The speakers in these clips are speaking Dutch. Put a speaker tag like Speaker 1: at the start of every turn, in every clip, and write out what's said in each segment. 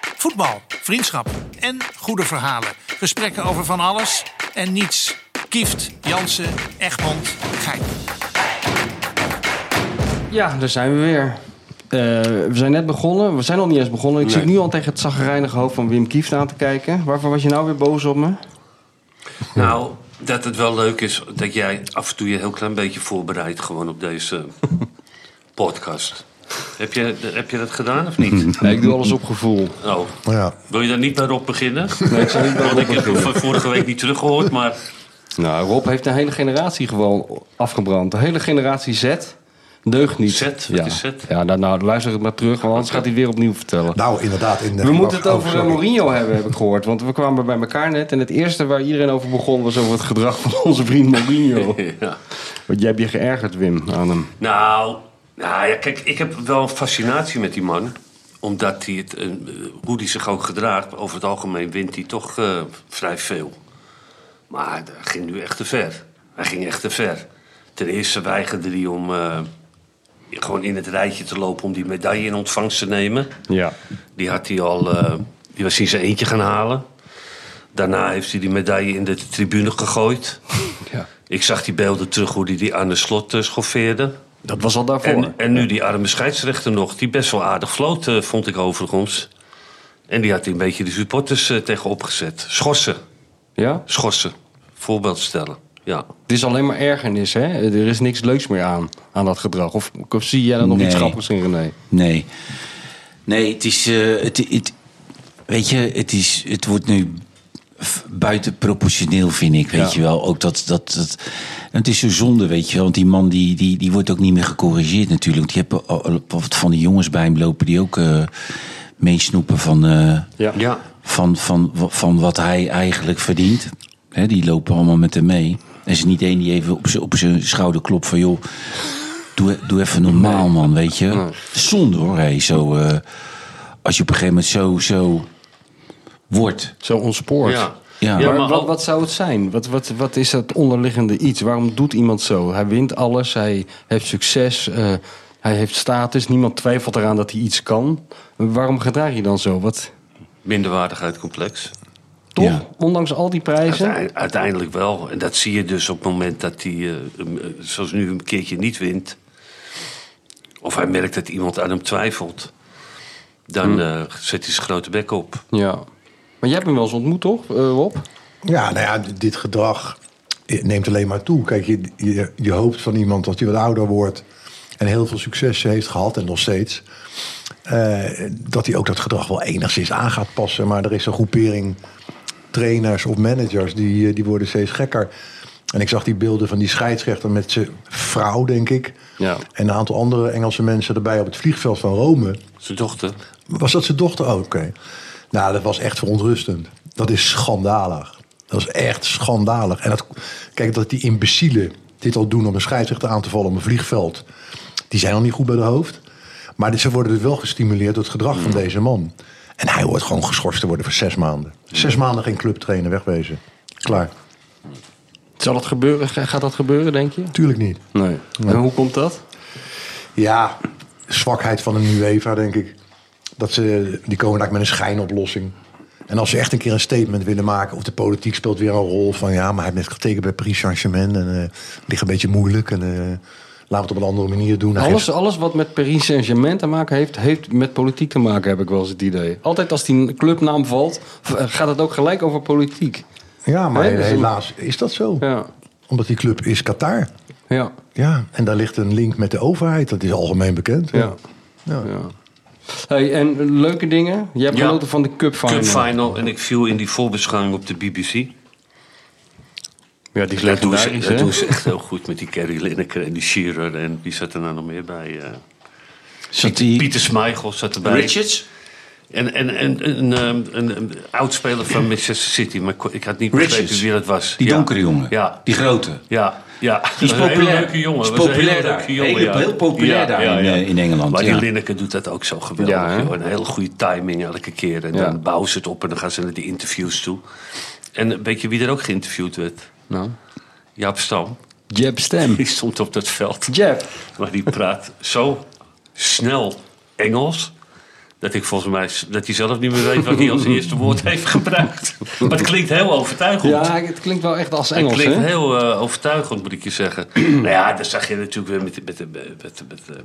Speaker 1: Voetbal, vriendschap en goede verhalen. Gesprekken over van alles en niets. Kieft, Jansen, Egmond, Gein.
Speaker 2: Ja, daar zijn we weer. Eh, we zijn net begonnen. We zijn nog niet eens begonnen. Ik
Speaker 3: Nee.
Speaker 2: zit nu al tegen het zagrijnige hoofd van Wim Kieft aan te kijken. Waarvoor was je nou weer boos op me?
Speaker 3: Nou, dat het wel leuk is dat jij af en toe je heel klein beetje voorbereidt gewoon op deze podcast. Heb je, heb je dat gedaan of niet?
Speaker 2: Nee, ik doe alles op gevoel.
Speaker 3: Oh,
Speaker 4: Ja.
Speaker 3: wil je daar niet meer op beginnen?
Speaker 2: Nee, ik zou niet bij
Speaker 3: Want
Speaker 2: Rob
Speaker 3: ik heb hem
Speaker 2: beginnen.
Speaker 3: van vorige week niet teruggehoord, maar
Speaker 2: Nou, Rob heeft een hele generatie gewoon afgebrand. De hele generatie Z deugt niet.
Speaker 3: Z? Wat
Speaker 2: ja.
Speaker 3: is Z?
Speaker 2: Ja, nou, nou, luister het maar terug, want anders gaat hij weer opnieuw vertellen.
Speaker 4: Nou, inderdaad. In de
Speaker 2: We moeten het
Speaker 4: oh,
Speaker 2: over eh,
Speaker 4: sorry.
Speaker 2: Mourinho hebben, heb ik gehoord. Want we kwamen bij elkaar net en het eerste waar iedereen over begon... was over het gedrag van onze vriend Mourinho.
Speaker 3: ja.
Speaker 2: Want jij hebt je geërgerd, Wim, aan hem.
Speaker 3: Nou, nou ja, kijk, ik heb wel een fascinatie met die man. Omdat hij het, eh, hoe hij zich ook gedraagt, over het algemeen wint hij toch eh, vrij veel. Maar hij ging nu echt te ver. Hij ging echt te ver. Ten eerste weigerde hij om eh, gewoon in het rijtje te lopen om die medaille in ontvangst te nemen.
Speaker 2: Ja.
Speaker 3: Die had hij al, eh, die was in zijn eentje gaan halen. Daarna heeft hij die medaille in de tribune gegooid.
Speaker 2: ja.
Speaker 3: Ik zag die beelden terug hoe hij die aan de slot eh, schoffeerde.
Speaker 2: Dat was al daarvoor.
Speaker 3: En, en nu die arme scheidsrechter nog, die best wel aardig floot, eh, vond ik overigens. En die had een beetje de supporters eh, tegenop gezet. Schorsen,
Speaker 2: Ja?
Speaker 3: schorsen. Voorbeeld stellen, ja.
Speaker 2: Het is alleen maar ergernis, hè? Er is niks leuks meer aan, aan dat gedrag. Of, of zie jij dan nog
Speaker 5: Nee.
Speaker 2: iets grappigs in René?
Speaker 5: Nee. Nee, het is. eh, het, het- weet je, het, is, het wordt nu f- buitenproportioneel, vind ik. Weet
Speaker 2: Ja.
Speaker 5: je wel. Ook dat, dat, dat, het is zo zonde, weet je wel. Want die man die, die, die wordt ook niet meer gecorrigeerd, natuurlijk. Die hebben al- al- wat van die jongens bij hem lopen die ook eh, meesnoepen van. eh,
Speaker 2: Ja.
Speaker 5: van, van, van wat hij eigenlijk verdient. Hè, die lopen allemaal met hem mee. Er is niet één die even op zijn- op zijn schouder klopt van... joh, doe, e-, doe even normaal, man, weet je. Zonde, hoor. hé, zo, eh, als je op een gegeven moment zo, zo wordt.
Speaker 2: Zo ontspoord.
Speaker 3: Ja.
Speaker 5: Ja,
Speaker 3: Ja,
Speaker 2: maar
Speaker 3: maar
Speaker 2: wat,
Speaker 3: ook-
Speaker 2: wat zou het zijn? Wat, wat, wat is dat onderliggende iets? Waarom doet iemand zo? Hij wint alles, hij heeft succes, eh, hij heeft status. Niemand twijfelt eraan dat hij iets kan. Waarom gedraag je dan zo? Wat,
Speaker 3: Minderwaardigheidcomplex.
Speaker 2: toch?
Speaker 5: Ja.
Speaker 2: Ondanks al die prijzen?
Speaker 3: Uitei- Uiteindelijk wel. En dat zie je dus op het moment dat hij, eh, hem, eh, zoals nu, een keertje niet wint. Of hij merkt dat iemand aan hem twijfelt. Dan eh, zet hij zijn grote bek op.
Speaker 2: Ja. Maar jij hebt hem wel eens ontmoet, toch, eh, Rob?
Speaker 4: Ja, nou ja, d- dit gedrag neemt alleen maar toe. Kijk, je, je, je hoopt van iemand dat hij wat ouder wordt en heel veel succes heeft gehad en nog steeds. eh, dat hij ook dat gedrag wel enigszins aan gaat passen. Maar er is een groepering trainers of managers die, eh, die worden steeds gekker. En ik zag die beelden van die scheidsrechter met zijn vrouw, denk ik.
Speaker 2: Ja.
Speaker 4: En een aantal andere Engelse mensen erbij op het vliegveld van Rome.
Speaker 3: Zijn dochter.
Speaker 4: Was dat zijn dochter ook? Oké. Nou, dat was echt verontrustend. Dat is schandalig. Dat is echt schandalig. En dat, kijk, dat die imbecielen dit al doen om een scheidsrechter aan te vallen op een vliegveld. Die zijn al niet goed bij de hoofd. Maar ze worden dus wel gestimuleerd door het gedrag van deze man. En hij hoort gewoon geschorst te worden voor zes maanden. Zes maanden geen club trainen, wegwezen. Klaar.
Speaker 2: Zal dat gebeuren? Ga- Gaat dat gebeuren, denk je?
Speaker 4: Tuurlijk niet.
Speaker 2: Nee. En hoe komt dat?
Speaker 4: Ja, zwakheid van een UEFA, denk ik. Dat ze, die komen eigenlijk met een schijnoplossing. En als ze echt een keer een statement willen maken... of de politiek speelt weer een rol van... ja, maar hij heeft net getekend bij Paris Saint-Germain... en eh, ligt een beetje moeilijk en eh, laten we het op een andere manier doen. Hij
Speaker 2: Alles,
Speaker 4: geeft-
Speaker 2: alles wat met Paris Saint-Germain te maken heeft, heeft met politiek te maken, heb ik wel eens het idee. Altijd als die clubnaam valt, v- eh, gaat het ook gelijk over politiek.
Speaker 4: ja, maar
Speaker 2: Nee, dat is een-
Speaker 4: helaas is dat zo.
Speaker 2: dus Ja,
Speaker 4: Omdat die club is Qatar.
Speaker 2: ja,
Speaker 4: Ja, en daar ligt een link met de overheid. Dat is algemeen bekend.
Speaker 2: ja. ja. Hey, en leuke dingen? Jij hebt
Speaker 3: Ja.
Speaker 2: genoten van de Cup Final.
Speaker 3: Cup final. En ik viel in die voorbeschouwing op de BBC.
Speaker 2: Ja, die is
Speaker 3: Dat doen, ze,
Speaker 2: legendarisch,
Speaker 3: dat
Speaker 2: hè?
Speaker 3: doen ze echt heel goed met die Kerry Lineker en die Shearer. En wie zat er nou nog meer bij? eh?
Speaker 5: Zat die
Speaker 3: Pieter Smeichel zat erbij.
Speaker 5: Richards?
Speaker 3: En, en, en, en, ehm, een, een, oudspeler van Manchester City. Maar ik- ik had niet
Speaker 5: Richards.
Speaker 3: begrepen wie dat was.
Speaker 5: Die
Speaker 3: Ja.
Speaker 5: donkere jongen.
Speaker 3: Ja.
Speaker 5: Die grote.
Speaker 3: Ja, ja.
Speaker 5: Die is
Speaker 3: Dat was een hele
Speaker 5: populair.
Speaker 3: leuke jongen.
Speaker 5: Is
Speaker 3: Dat was een hele
Speaker 5: populair daar.
Speaker 3: leuke jongen,
Speaker 5: Hele-
Speaker 3: ja.
Speaker 5: heel populair daar in, eh, in Engeland,
Speaker 3: Maar
Speaker 5: ja.
Speaker 3: die Lineker doet dat ook zo geweldig.
Speaker 2: Ja, hè?
Speaker 3: joh. Een hele goede timing elke keer. En
Speaker 2: Ja.
Speaker 3: dan bouwen ze het op en dan gaan ze naar die interviews toe. En weet je wie er ook geïnterviewd werd?
Speaker 2: Nou.
Speaker 3: Jaap Stam.
Speaker 2: Jeb Stem.
Speaker 3: Die stond op dat veld.
Speaker 2: Jeb.
Speaker 3: Maar die praat zo snel Engels. Dat ik volgens mij, s- dat hij zelf niet meer weet wat hij als eerste woord heeft gebruikt. Maar het klinkt heel overtuigend.
Speaker 2: Ja, het klinkt wel echt als
Speaker 3: Het
Speaker 2: Engels,
Speaker 3: klinkt
Speaker 2: hè?
Speaker 3: heel eh, overtuigend, moet ik je zeggen. nou ja, dan zag je natuurlijk weer met, met, met, met, met, eh,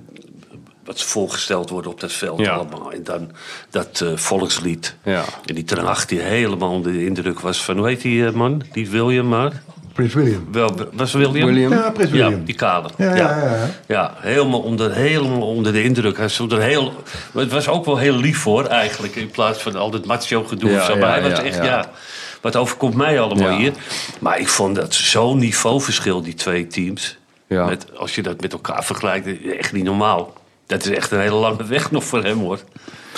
Speaker 3: wat ze voorgesteld worden op dat veld
Speaker 2: Ja.
Speaker 3: allemaal. En dan dat eh, volkslied.
Speaker 2: Ja.
Speaker 3: En die Ten Hag die helemaal onder de indruk was van, hoe heet die eh, man? Die William maar.
Speaker 4: Prins William.
Speaker 3: Wel, was het William?
Speaker 2: William.
Speaker 4: Ja, Prins
Speaker 3: Ja,
Speaker 4: William.
Speaker 3: die kale.
Speaker 4: Ja, ja, ja, ja.
Speaker 3: Ja, helemaal, onder, helemaal onder de indruk. Hij stond er heel, maar het was ook wel heel lief hoor, eigenlijk. In plaats van al dat macho gedoe
Speaker 2: Ja,
Speaker 3: of zo.
Speaker 2: ja,
Speaker 3: maar hij was
Speaker 2: ja,
Speaker 3: echt,
Speaker 2: ja.
Speaker 3: ja. Wat overkomt mij allemaal
Speaker 2: Ja.
Speaker 3: hier. Maar ik vond dat zo'n niveauverschil, die twee teams.
Speaker 2: Ja.
Speaker 3: Met, als je dat met elkaar vergelijkt, echt niet normaal. Dat is echt een hele lange weg nog voor hem hoor.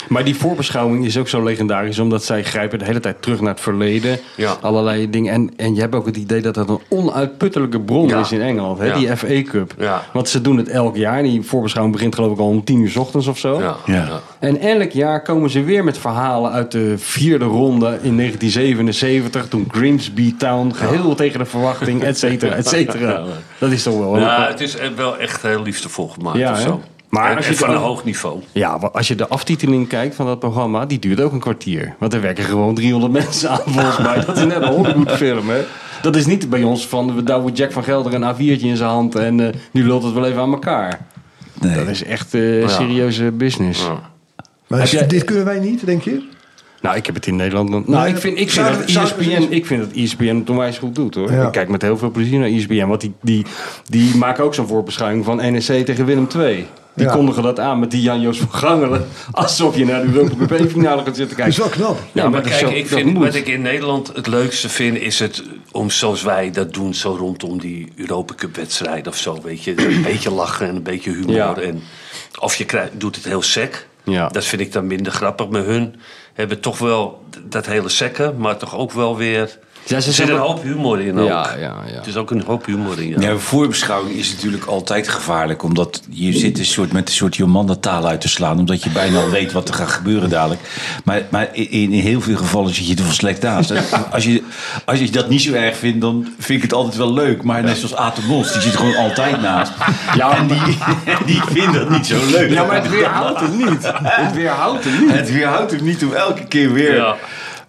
Speaker 2: Maar die voorbeschouwing is ook zo legendarisch, omdat zij grijpen de hele tijd terug naar het verleden.
Speaker 3: Ja.
Speaker 2: Allerlei dingen. En, en je hebt ook het idee dat dat een onuitputtelijke bron
Speaker 3: Ja.
Speaker 2: is in Engeland, hè?
Speaker 3: Ja.
Speaker 2: die FA Cup.
Speaker 3: Ja.
Speaker 2: Want ze doen het elk jaar. Die voorbeschouwing begint geloof ik al om tien uur 's ochtends of zo.
Speaker 3: Ja,
Speaker 5: Ja.
Speaker 2: En elk jaar komen ze weer met verhalen uit de vierde ronde in 1977. Toen Grimsby Town geheel tegen de verwachting, et cetera, et cetera. Dat is toch wel... een-
Speaker 3: Ja, het is eh, wel echt heel liefdevol gemaakt
Speaker 2: Ja,
Speaker 3: of
Speaker 2: hè?
Speaker 3: zo.
Speaker 2: Maar
Speaker 3: en,
Speaker 2: als
Speaker 3: en
Speaker 2: je
Speaker 3: van
Speaker 2: dan-
Speaker 3: een hoog niveau.
Speaker 2: Ja, maar als je de aftiteling kijkt van dat programma, die duurt ook een kwartier. Want er werken gewoon 300 mensen aan, volgens mij. Dat is net een Hollywoodfilm, hè? Dat is niet bij ons van, we douwen Jack van Gelder een A4'tje in zijn hand en eh, nu lult het wel even aan elkaar.
Speaker 5: Nee.
Speaker 2: Dat is echt eh, serieuze business.
Speaker 4: Maar
Speaker 2: Heb
Speaker 4: is-
Speaker 2: jij-
Speaker 4: dit kunnen wij niet, denk je?
Speaker 2: Nou, ik heb het in Nederland... nog- Nou,
Speaker 4: Nee,
Speaker 2: ik vind, ik vind,
Speaker 4: zouden-
Speaker 2: dat E
Speaker 4: zouden we- dus-
Speaker 2: ESPN, ik vind dat ESPN het onwijs goed doet, hoor.
Speaker 4: Ja.
Speaker 2: Ik kijk met heel veel plezier naar E ESPN, want die, die, die maken ook zo'n voorbeschouwing van NEC tegen Willem II. Die
Speaker 4: Ja.
Speaker 2: kondigen dat aan met die Jan-Joos van Gangelen. Alsof je naar de Europa Cup E finale gaat zitten
Speaker 4: Dat
Speaker 2: kijken.
Speaker 4: is wel knap.
Speaker 2: Ja,
Speaker 3: Ja,
Speaker 2: maar
Speaker 3: maar
Speaker 2: dat
Speaker 3: kijk,
Speaker 2: zou-
Speaker 3: ik
Speaker 2: dat
Speaker 3: vind,
Speaker 2: moet.
Speaker 3: wat ik in Nederland het leukste vind, is het om zoals wij dat doen, zo rondom die Europa Cup wedstrijd of zo. Weet je, een beetje lachen en een beetje humor.
Speaker 2: Ja.
Speaker 3: En, of je krijgt, doet het heel sec.
Speaker 2: Ja.
Speaker 3: Dat vind ik dan minder grappig. Maar hun hebben toch wel d- dat hele sekken, maar toch ook wel weer.
Speaker 2: Ja, ze
Speaker 3: er zit
Speaker 2: zeggen-
Speaker 3: een hoop humor in ook.
Speaker 2: Ja, ja, ja.
Speaker 3: Het is ook een hoop humor in. Ja.
Speaker 5: Ja, voorbeschouwing is natuurlijk altijd gevaarlijk. Omdat je zit een soort, met een soort Jomanda-taal uit te slaan. Omdat je bijna al weet wat er gaat gebeuren dadelijk. Maar, maar in, in heel veel gevallen zit je er volstrekt naast. Als je, als je dat niet zo erg vindt, dan vind ik het altijd wel leuk. Maar net zoals Aten Bos, die zit er gewoon altijd naast.
Speaker 2: Ja,
Speaker 5: En die, die vindt dat niet zo leuk.
Speaker 2: Ja, maar het weerhoudt het niet. Het weerhoudt het niet.
Speaker 5: Het weerhoudt hem niet om elke keer weer.
Speaker 3: Ja.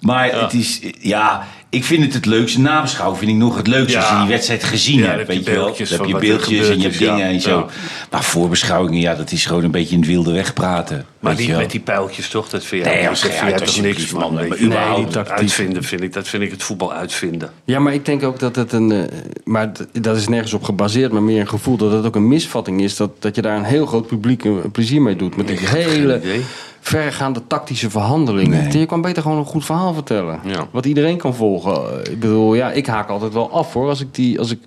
Speaker 5: Maar het is, ja, ik vind het het leukste. Nabeschouwing vind ik nog het leukste als je
Speaker 3: Ja.
Speaker 5: die wedstrijd gezien
Speaker 3: Ja,
Speaker 5: hebt.
Speaker 3: dan heb je
Speaker 5: weet je wel. Dan
Speaker 3: beeldjes
Speaker 5: heb
Speaker 3: van
Speaker 5: je
Speaker 3: wat er
Speaker 5: beeldjes en
Speaker 3: gebeurd
Speaker 5: je
Speaker 3: is,
Speaker 5: hebt dingen
Speaker 3: ja.
Speaker 5: en zo.
Speaker 3: Ja.
Speaker 5: Maar voorbeschouwingen, ja, dat is gewoon een beetje een wilde weg praten.
Speaker 3: Maar
Speaker 5: weet
Speaker 3: die,
Speaker 5: je wel.
Speaker 3: met die pijltjes toch, dat vind jij,
Speaker 5: Nee,
Speaker 3: dat
Speaker 5: als-
Speaker 3: vind
Speaker 5: ja,
Speaker 3: jij
Speaker 5: het
Speaker 3: toch
Speaker 5: was
Speaker 3: niks
Speaker 5: niks,
Speaker 3: man.
Speaker 5: man.
Speaker 3: Nee,
Speaker 5: Maar
Speaker 3: nee,
Speaker 5: überhaupt
Speaker 3: dat
Speaker 2: tactiek.
Speaker 3: uitvinden vind ik, dat vind ik het voetbal uitvinden.
Speaker 2: Ja, maar ik denk ook dat het een. eh, maar d- dat is nergens op gebaseerd, maar meer een gevoel dat het ook een misvatting is. Dat, dat je daar een heel groot publiek een, een plezier mee doet. Met die hele
Speaker 3: idee.
Speaker 2: verregaande tactische verhandelingen.
Speaker 5: Nee.
Speaker 2: Je kan beter gewoon een goed verhaal vertellen.
Speaker 3: Ja.
Speaker 2: Wat iedereen kan volgen. Eh, Ik bedoel, ja, ik haak altijd wel af hoor. Als ik, die, als ik,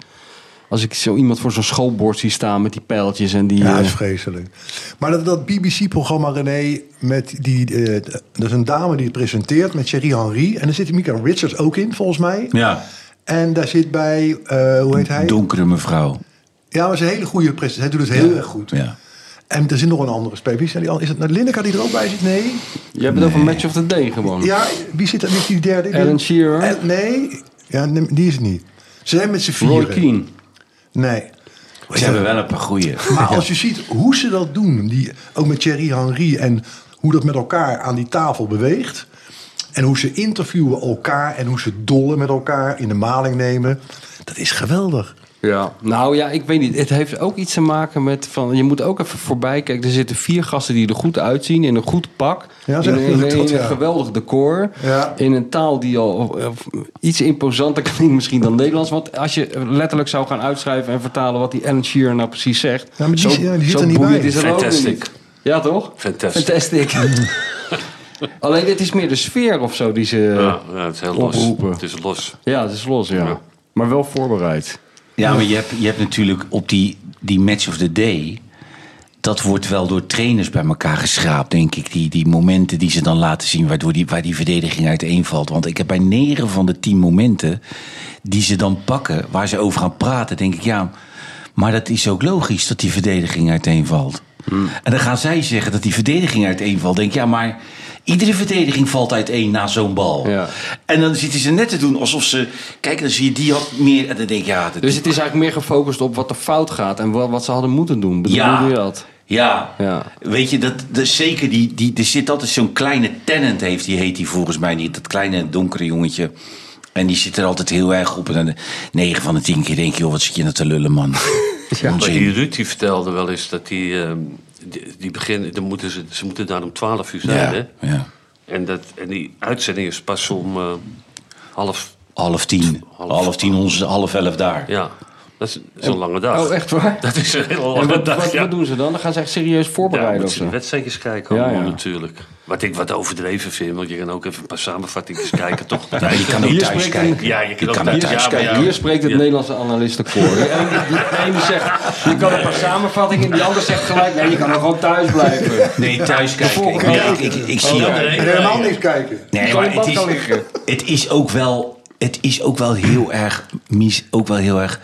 Speaker 2: als ik zo iemand voor zo'n schoolbord zie staan met die pijltjes en die.
Speaker 4: Ja, dat
Speaker 2: eh,
Speaker 4: is vreselijk. Maar dat, dat BBC-programma René, met die, eh, dat is een dame die het presenteert met Thierry Henry. En daar zit Mika Richards ook in, volgens mij.
Speaker 5: ja,
Speaker 4: En daar zit bij, eh, hoe heet hij?
Speaker 5: donkere mevrouw.
Speaker 4: Ja, maar ze is een hele goede presentatie. Hij doet het heel erg goed.
Speaker 5: Ja.
Speaker 4: En er zit nog een andere speler. Wie Is dat? Is het nou Lineker die er ook bij zit? Nee.
Speaker 2: je hebt het over Match of the Day gewoon.
Speaker 4: Ja, wie zit er? Wie is die derde?
Speaker 2: Alan Shearer?
Speaker 4: Eh, nee. Ja, nee, die is het niet. Ze zijn met z'n vieren.
Speaker 2: Roy Keane.
Speaker 4: Nee.
Speaker 5: Ze hebben wel een paar goeie.
Speaker 4: Maar als je ziet hoe ze dat doen, die, ook met Thierry Henry en hoe dat met elkaar aan die tafel beweegt. En hoe ze interviewen elkaar en hoe ze dollen met elkaar in de maling nemen. Dat is geweldig.
Speaker 2: Ja, nou ja, ik weet niet. Het heeft ook iets te maken met van. Je moet ook even voorbij kijken. Er zitten vier gasten die er goed uitzien. In een goed pak.
Speaker 4: Ja,
Speaker 2: in
Speaker 4: zeg,
Speaker 2: een, in een-
Speaker 4: dat,
Speaker 2: in een
Speaker 4: ja.
Speaker 2: geweldig decor.
Speaker 4: Ja.
Speaker 2: In een taal die al of- of iets imposanter klinkt misschien dan Nederlands. Want als je letterlijk zou gaan uitschrijven en vertalen wat die Alan Shearer nou precies zegt.
Speaker 4: Ja, maar die is- ja, die zit er niet
Speaker 2: boeiend
Speaker 4: bij.
Speaker 2: is het ook
Speaker 3: Fantastic.
Speaker 2: niet. Ja, toch?
Speaker 3: Fantastic.
Speaker 2: Fantastic. Alleen dit is meer de sfeer of zo die ze.
Speaker 3: Ja, ja, het is heel los.
Speaker 2: oproepen.
Speaker 3: Het is los.
Speaker 2: Ja, het is los, ja.
Speaker 3: Ja.
Speaker 2: Maar wel voorbereid.
Speaker 5: Ja, maar je hebt, je hebt natuurlijk op die, die match of the day. Dat wordt wel door trainers bij elkaar geschraapt, denk ik. Die, die momenten die ze dan laten zien, waardoor die, waar die verdediging uiteenvalt. Want ik heb bij negen van de tien momenten die ze dan pakken, waar ze over gaan praten, denk ik ja. Maar dat is ook logisch dat die verdediging uiteenvalt. En dan gaan zij zeggen dat die verdediging uiteenvalt. Denk ik, ja, maar iedere verdediging valt uiteen na zo'n bal.
Speaker 2: Ja.
Speaker 5: En dan zitten ze net te doen alsof ze. Kijk, dan zie je die had meer. En dan denk je, ja, dat
Speaker 2: Dus het is eigenlijk meer gefocust op wat er fout gaat en wa- wat ze hadden moeten doen. Bedoel je dat?
Speaker 5: Ja.
Speaker 2: Ja.
Speaker 5: weet je, dat, dat is zeker die, die, er zit altijd zo'n kleine tenant heeft, die heet die volgens mij niet, dat kleine donkere jongetje. En die zit er altijd heel erg op. En dan 9 van de 10 keer denk je, joh, wat zit je nou te lullen, man. Ja,
Speaker 3: Maar die Ruud die vertelde wel eens dat die, ehm, die, die beginnen, dan moeten ze, ze moeten daar om 12 uur zijn.
Speaker 5: ja,
Speaker 3: Hè?
Speaker 5: ja.
Speaker 3: En, dat, en die uitzending is pas om eh, half.
Speaker 5: Half tien.
Speaker 3: Half-
Speaker 5: Half, tien, onze, half elf daar.
Speaker 3: Ja, dat is, dat is een lange dag.
Speaker 2: Oh, echt waar?
Speaker 3: Dat is een hele
Speaker 2: En
Speaker 3: lange
Speaker 2: wat,
Speaker 3: dag.
Speaker 2: wat,
Speaker 3: ja.
Speaker 2: wat doen ze dan? Dan gaan ze echt serieus
Speaker 3: Ja,
Speaker 2: voorbereiden
Speaker 3: moet
Speaker 2: of
Speaker 3: ze de
Speaker 2: zo.
Speaker 3: wedstrijdjes kijken
Speaker 2: Ja,
Speaker 3: allemaal
Speaker 2: ja.
Speaker 3: natuurlijk. Wat ik wat overdreven vind, want je kan ook even een paar samenvattingen kijken, toch?
Speaker 5: Ja, maar je kan ook
Speaker 2: Hier
Speaker 5: thuis
Speaker 2: spreekt een-
Speaker 5: kijken.
Speaker 3: Ja, je kan ook
Speaker 5: kan
Speaker 3: thuis
Speaker 5: ook
Speaker 3: kijken.
Speaker 2: Kijk,
Speaker 3: Ja.
Speaker 2: hier spreekt het
Speaker 3: Ja.
Speaker 2: Nederlandse analistenkoor. De ene die, de ene zegt, je kan een paar samenvattingen. En die ander zegt gelijk, nee, je kan ook gewoon thuis blijven.
Speaker 5: Nee, thuis kijken. Ik,
Speaker 2: volgende
Speaker 5: ik, ik, ik zie
Speaker 3: Oh,
Speaker 5: jou.
Speaker 3: dat er één.
Speaker 4: En helemaal niks kijken.
Speaker 5: Nee,
Speaker 2: Kan
Speaker 5: maar
Speaker 2: je
Speaker 5: het
Speaker 2: bad kan
Speaker 5: is,
Speaker 2: liggen.
Speaker 5: het is ook wel. Het is ook wel heel erg, mis, ook wel heel erg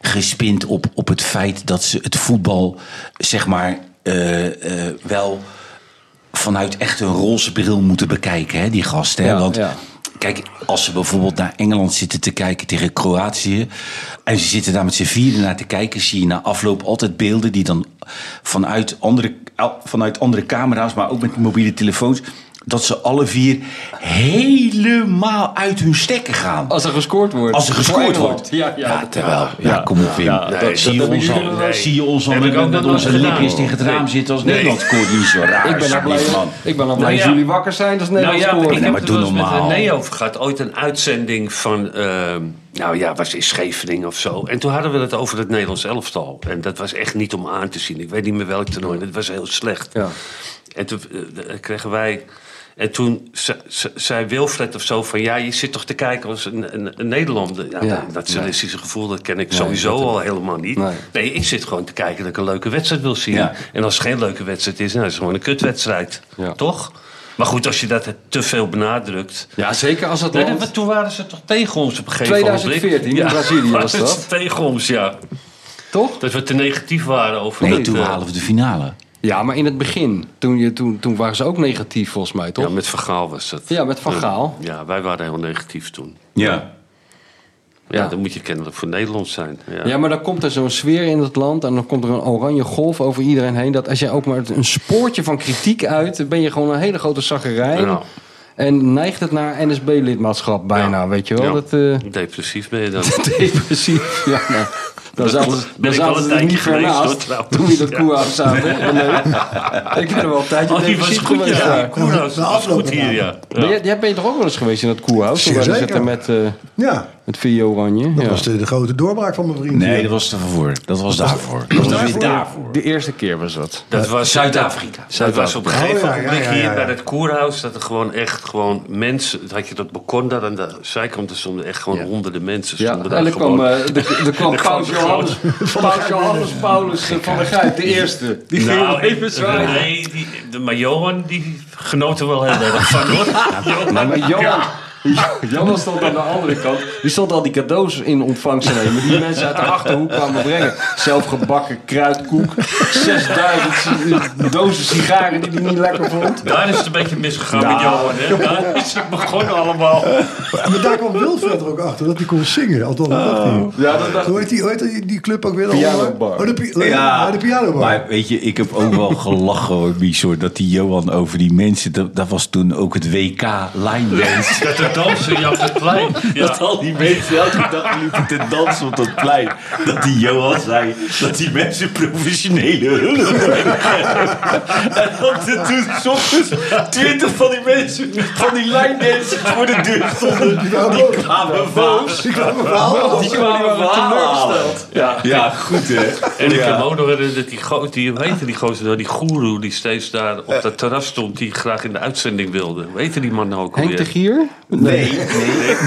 Speaker 5: gespind op, op het feit dat ze het voetbal, zeg maar, eh, eh, wel vanuit echt een roze bril moeten bekijken, hè, die gasten. Hè?
Speaker 2: Ja,
Speaker 5: Want
Speaker 2: ja.
Speaker 5: kijk, als ze bijvoorbeeld naar Engeland zitten te kijken tegen Kroatië. en ze zitten daar met z'n vieren naar te kijken. zie je na afloop altijd beelden die dan vanuit andere, al- vanuit andere camera's. maar ook met mobiele telefoons. dat ze alle vier helemaal uit hun stekken gaan.
Speaker 3: Oh,
Speaker 2: Als er gescoord wordt.
Speaker 5: Als er
Speaker 2: Voor
Speaker 5: gescoord
Speaker 2: Engeland.
Speaker 5: wordt.
Speaker 2: Ja, ja.
Speaker 5: terwijl. Ja, kom op, Wim.
Speaker 3: ja, nee,
Speaker 5: zie, je
Speaker 3: dat
Speaker 5: ons
Speaker 3: hebben
Speaker 5: al,
Speaker 3: jullie wel-
Speaker 5: zie je ons al
Speaker 3: Heb ik
Speaker 5: met,
Speaker 3: ook
Speaker 5: met
Speaker 3: nog
Speaker 5: onze
Speaker 3: nooit
Speaker 5: lipjes
Speaker 3: gedaan,
Speaker 5: tegen het
Speaker 3: hoor.
Speaker 5: raam zitten als
Speaker 3: Nee.
Speaker 5: Nederland scoort. Niet zo raar.
Speaker 2: Ik ben al blij,
Speaker 5: alsjeblieft, man.
Speaker 2: ik ben al blij
Speaker 3: Nou ja.
Speaker 2: dat jullie wakker zijn als
Speaker 3: Nou
Speaker 2: Nederland
Speaker 3: ja,
Speaker 2: scoort.
Speaker 3: ik heb
Speaker 5: maar
Speaker 3: het
Speaker 5: doe
Speaker 3: wel eens met
Speaker 5: normaal.
Speaker 3: René over gehad. Ooit een uitzending van, ehm, nou ja, was in Scheveningen of zo. En toen hadden we het over het Nederlands elftal. En dat was echt niet om aan te zien. Ik weet niet meer welk toernooi. Dat was heel slecht.
Speaker 2: Ja.
Speaker 3: En toen eh, eh, kregen wij... En toen ze- ze- zei Wilfred of zo van... Ja, je zit toch te kijken als een, een, een Nederlander. Ja,
Speaker 2: Ja,
Speaker 3: dat- dat journalistische gevoel, dat ken ik sowieso al helemaal niet.
Speaker 2: Nee.
Speaker 3: Nee. ik zit gewoon te kijken dat ik een leuke wedstrijd wil zien.
Speaker 5: Ja.
Speaker 3: En als het geen leuke wedstrijd is, nou, is het gewoon een kutwedstrijd.
Speaker 2: Ja.
Speaker 3: Toch? Maar goed, als je dat te veel benadrukt.
Speaker 2: Ja, zeker als het
Speaker 3: Nee,
Speaker 2: land...
Speaker 3: dat- toen waren ze toch tegen ons op een gegeven moment.
Speaker 2: 2014 in Brazilië was
Speaker 3: waren ze
Speaker 2: dat.
Speaker 3: Tegen ons, ja.
Speaker 2: Toch?
Speaker 3: Dat we te negatief waren over
Speaker 5: Nee,
Speaker 3: dit,
Speaker 5: toen
Speaker 3: eh,
Speaker 5: halen we de finale.
Speaker 2: Ja, maar in het begin, toen, je, toen, toen waren ze ook negatief volgens mij, toch?
Speaker 3: Ja, met Vergaal was dat.
Speaker 2: Ja, met Van Gaal.
Speaker 3: Ja, wij waren heel negatief toen.
Speaker 5: Ja.
Speaker 3: Ja,
Speaker 2: Ja.
Speaker 3: dan moet je kennelijk voor Nederland zijn. Ja.
Speaker 2: Ja, maar dan komt er zo'n sfeer in het land en dan komt er een oranje golf over iedereen heen. Dat als jij ook maar een spoortje van kritiek uit, dan ben je gewoon een hele grote zaggerij.
Speaker 3: Ja.
Speaker 2: En neigt het naar NSB-lidmaatschap bijna,
Speaker 3: Ja.
Speaker 2: weet je wel?
Speaker 3: Ja.
Speaker 2: Dat, eh
Speaker 3: Depressief ben je
Speaker 4: Oh,
Speaker 3: dan.
Speaker 2: depressief. Ja, nou, dan
Speaker 3: Dat
Speaker 2: zaten
Speaker 3: klopt.
Speaker 2: ze,
Speaker 3: Ben
Speaker 2: dan
Speaker 3: ik al
Speaker 2: zaten ze
Speaker 3: een
Speaker 2: er
Speaker 3: tijdje
Speaker 2: niet ver
Speaker 3: geweest, hoor,
Speaker 2: naast
Speaker 3: trouwens.
Speaker 2: toen je dat
Speaker 3: Ja.
Speaker 2: koerhuis zaten. En, eh, ik ben er wel een tijdje
Speaker 3: Oh, die was
Speaker 2: depressief
Speaker 3: goed,
Speaker 2: geweest
Speaker 3: ja.
Speaker 2: daar.
Speaker 3: Koenhout
Speaker 4: Nou, na
Speaker 3: was
Speaker 4: afloop
Speaker 3: goed hier, ja.
Speaker 2: Ben
Speaker 3: Ja.
Speaker 2: jij, jij bent toch ook wel eens geweest in dat koerhuis? Toen wij
Speaker 4: Zeker.
Speaker 2: zitten met, eh
Speaker 4: Ja,
Speaker 2: met Vio Oranje.
Speaker 4: dat
Speaker 2: Ja.
Speaker 4: was de, de grote doorbraak van mijn vriend.
Speaker 5: Nee,
Speaker 4: hier.
Speaker 5: dat was daarvoor. Dat was daarvoor. Dat was weer daarvoor.
Speaker 2: De eerste keer was dat.
Speaker 3: Dat was,
Speaker 5: Zuid-Afrika.
Speaker 3: Dat was op een
Speaker 4: Oh,
Speaker 3: gegeven
Speaker 4: ja,
Speaker 3: moment
Speaker 4: ja, ja,
Speaker 3: hier
Speaker 4: ja, ja.
Speaker 3: bij het koerhuis. Dat er gewoon echt gewoon mensen. dat Had je dat balkon daar aan de zijkant? Er stonden echt gewoon honderden mensen.
Speaker 2: Ja,
Speaker 3: Stonden daar
Speaker 2: en er kwam,
Speaker 3: gewoon.
Speaker 2: eh, er, er kwam
Speaker 3: Er
Speaker 2: Paus
Speaker 3: kwam-
Speaker 2: Johannes, Paus Johannes Paulus eh, van der Gijp, de eerste. Die ging
Speaker 3: nou,
Speaker 2: even zwaaien.
Speaker 3: nee, die, de, maar Johan die genoot er wel heel erg van hoor. Johan,
Speaker 2: Maar Johan, Johan stond aan de andere kant. Die stond al die cadeaus in ontvangst te nemen. Die mensen uit de achterhoek kwamen brengen. Zelfgebakken kruidkoek. 6000 si- dozen sigaren die hij niet lekker vond.
Speaker 3: daar is het een beetje misgegaan met Johan. Hè? Daar is het begonnen allemaal.
Speaker 4: Maar daar kwam Wilfred er ook achter dat hij kon zingen. Althans, dat dacht hij.
Speaker 5: Oh.
Speaker 2: Ja, dat dacht
Speaker 4: Hoe heet die, hoe heet die, die club ook weer?
Speaker 2: Piano
Speaker 4: allemaal?
Speaker 2: Bar.
Speaker 4: Oh, de, pi- ja, de piano bar.
Speaker 5: maar weet je, ik heb ook wel gelachen hoor, Mies, hoor, Dat die Johan over die mensen, dat, dat was toen ook het WK line dance.
Speaker 3: Dat de dansen, Jan het Klein. Ja.
Speaker 5: Dat al die mensen elke dag liepen te dansen op dat plein. Dat die Johan zei dat die mensen professionele hulp hebben. En dat er toen soms twintig van die mensen, van die line dancers voor de deur stonden. Die kwamen boos.
Speaker 4: Ik kwam een verhaal af.
Speaker 5: Die kwamen teleurgesteld. Ja. ja, goed hè.
Speaker 3: En ik heb
Speaker 5: ja.
Speaker 3: me ook nog herinnerd dat die gozer, die, hoe heette die gozer nou, die goeroe die steeds daar
Speaker 2: Eh.
Speaker 3: op dat terras stond, die graag in de uitzending wilde. Hoe heette die man nou ook
Speaker 2: Henk de
Speaker 3: alweer?
Speaker 2: Gier?
Speaker 5: Nee, nee,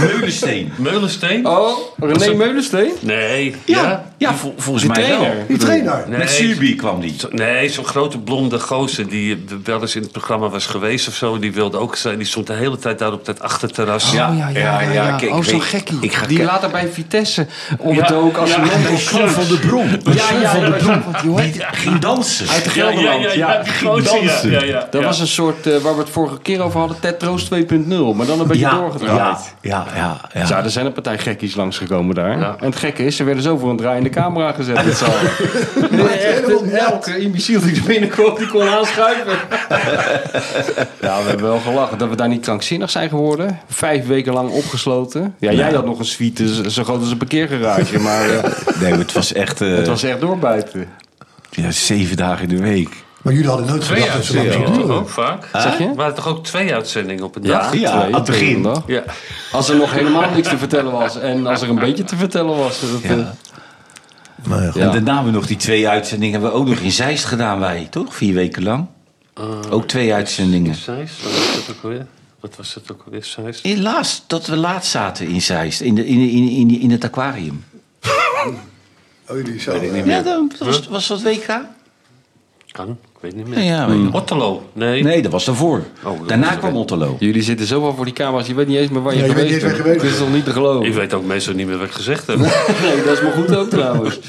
Speaker 5: Meulensteen.
Speaker 3: Meulensteen?
Speaker 2: Oh, René Meulensteen?
Speaker 3: Nee.
Speaker 5: Ja, ja vol- volgens mij
Speaker 2: trainer.
Speaker 5: wel.
Speaker 4: Die trainer.
Speaker 3: Nee. Oh,
Speaker 5: Met Subi kwam die.
Speaker 3: Zo- Nee, zo'n grote blonde gozer die eh, wel eens in het programma was geweest of zo. Die wilde ook zijn. Die stond de hele tijd daar op dat achterterras.
Speaker 5: Ja.
Speaker 2: Oh ja, ja, ja.
Speaker 5: Ja, ja, kijk,
Speaker 2: oh,
Speaker 5: ik
Speaker 2: zo'n
Speaker 5: weet-
Speaker 2: gekkie.
Speaker 5: ik ga
Speaker 2: die
Speaker 5: kijken.
Speaker 2: later bij Vitesse op
Speaker 3: Ja,
Speaker 2: het ook als
Speaker 3: ja,
Speaker 2: een
Speaker 3: bij
Speaker 2: man-
Speaker 3: Clubs.
Speaker 5: Bron.
Speaker 2: Ja, ja, ja, dat was- wat, hoe heet
Speaker 5: Die ging dansen.
Speaker 2: Uit de
Speaker 3: Ja, ja,
Speaker 2: Gelderland.
Speaker 3: ja,
Speaker 2: ja.
Speaker 3: ja, die gozer. Ja, ja, ja.
Speaker 2: Dat
Speaker 3: Ja.
Speaker 2: was een soort, eh, waar we het vorige keer over hadden, Tetroos 2.0. Maar dan een beetje
Speaker 5: Ja,
Speaker 2: doorgedraaid.
Speaker 5: ja, ja, ja, ja.
Speaker 2: Ja, er zijn een partij gekkies langsgekomen daar.
Speaker 3: Ja.
Speaker 2: En het gekke is, ze werden zo voor een draaiende de camera gezet met z'n allen. Nee, echt, elke imbeciel die er binnenkwam, die kon aanschuiven. Ja, we hebben wel gelachen dat we daar niet krankzinnig zijn geworden. Vijf weken lang opgesloten. Ja, jij had nog een suite z- zo groot als een parkeergarage. Maar eh,
Speaker 5: Nee, maar het was echt eh,
Speaker 2: het was echt doorbijten.
Speaker 5: ja, zeven dagen in de week.
Speaker 4: Maar jullie hadden nooit
Speaker 3: Twee
Speaker 4: gedacht dat ze lang
Speaker 3: uitzendingen toch
Speaker 4: zou duren.
Speaker 3: ook vaak?
Speaker 2: Zeg je?
Speaker 3: Er waren toch ook twee uitzendingen op een
Speaker 5: Ja,
Speaker 3: dag?
Speaker 5: ja.
Speaker 2: Twee,
Speaker 5: aan het
Speaker 2: twee
Speaker 5: begin.
Speaker 2: op een dag.
Speaker 3: Ja.
Speaker 2: Als er nog helemaal niks te vertellen was. En als er een beetje te vertellen was. Dat, eh,
Speaker 5: Ja.
Speaker 4: Nou ja, goed.
Speaker 5: En daarna hebben we nog die twee uitzendingen hebben we ook nog in Zeist gedaan wij, toch? Vier weken lang.
Speaker 2: Eh,
Speaker 5: ook twee uitzendingen.
Speaker 3: Zeist, wat was dat ook alweer? Wat was dat ook alweer, Zeist?
Speaker 5: Helaas dat we laatst zaten in Zeist, in, de, in, in, in, in het aquarium.
Speaker 4: Oh, jullie zo.
Speaker 5: Ja, dat was, was dat WK?
Speaker 3: Kan, ik weet niet meer.
Speaker 5: Ja, ja,
Speaker 2: Hmm.
Speaker 5: weet je nog.
Speaker 3: Otterlo, nee.
Speaker 5: Nee, dat was daarvoor.
Speaker 3: Oh, dat
Speaker 5: Daarna
Speaker 3: was
Speaker 5: kwam
Speaker 3: er.
Speaker 5: Otterlo.
Speaker 2: Jullie zitten zoveel voor die camera's. Je weet niet eens meer waar je
Speaker 4: Nee, je weet
Speaker 2: geweest
Speaker 4: niet eens
Speaker 2: bent.
Speaker 4: waar je geweest
Speaker 2: Het is toch niet te
Speaker 3: Ik
Speaker 2: geloven.
Speaker 3: weet ook meestal niet meer wat ik gezegd heb.
Speaker 2: Nee, dat is maar goed ook trouwens.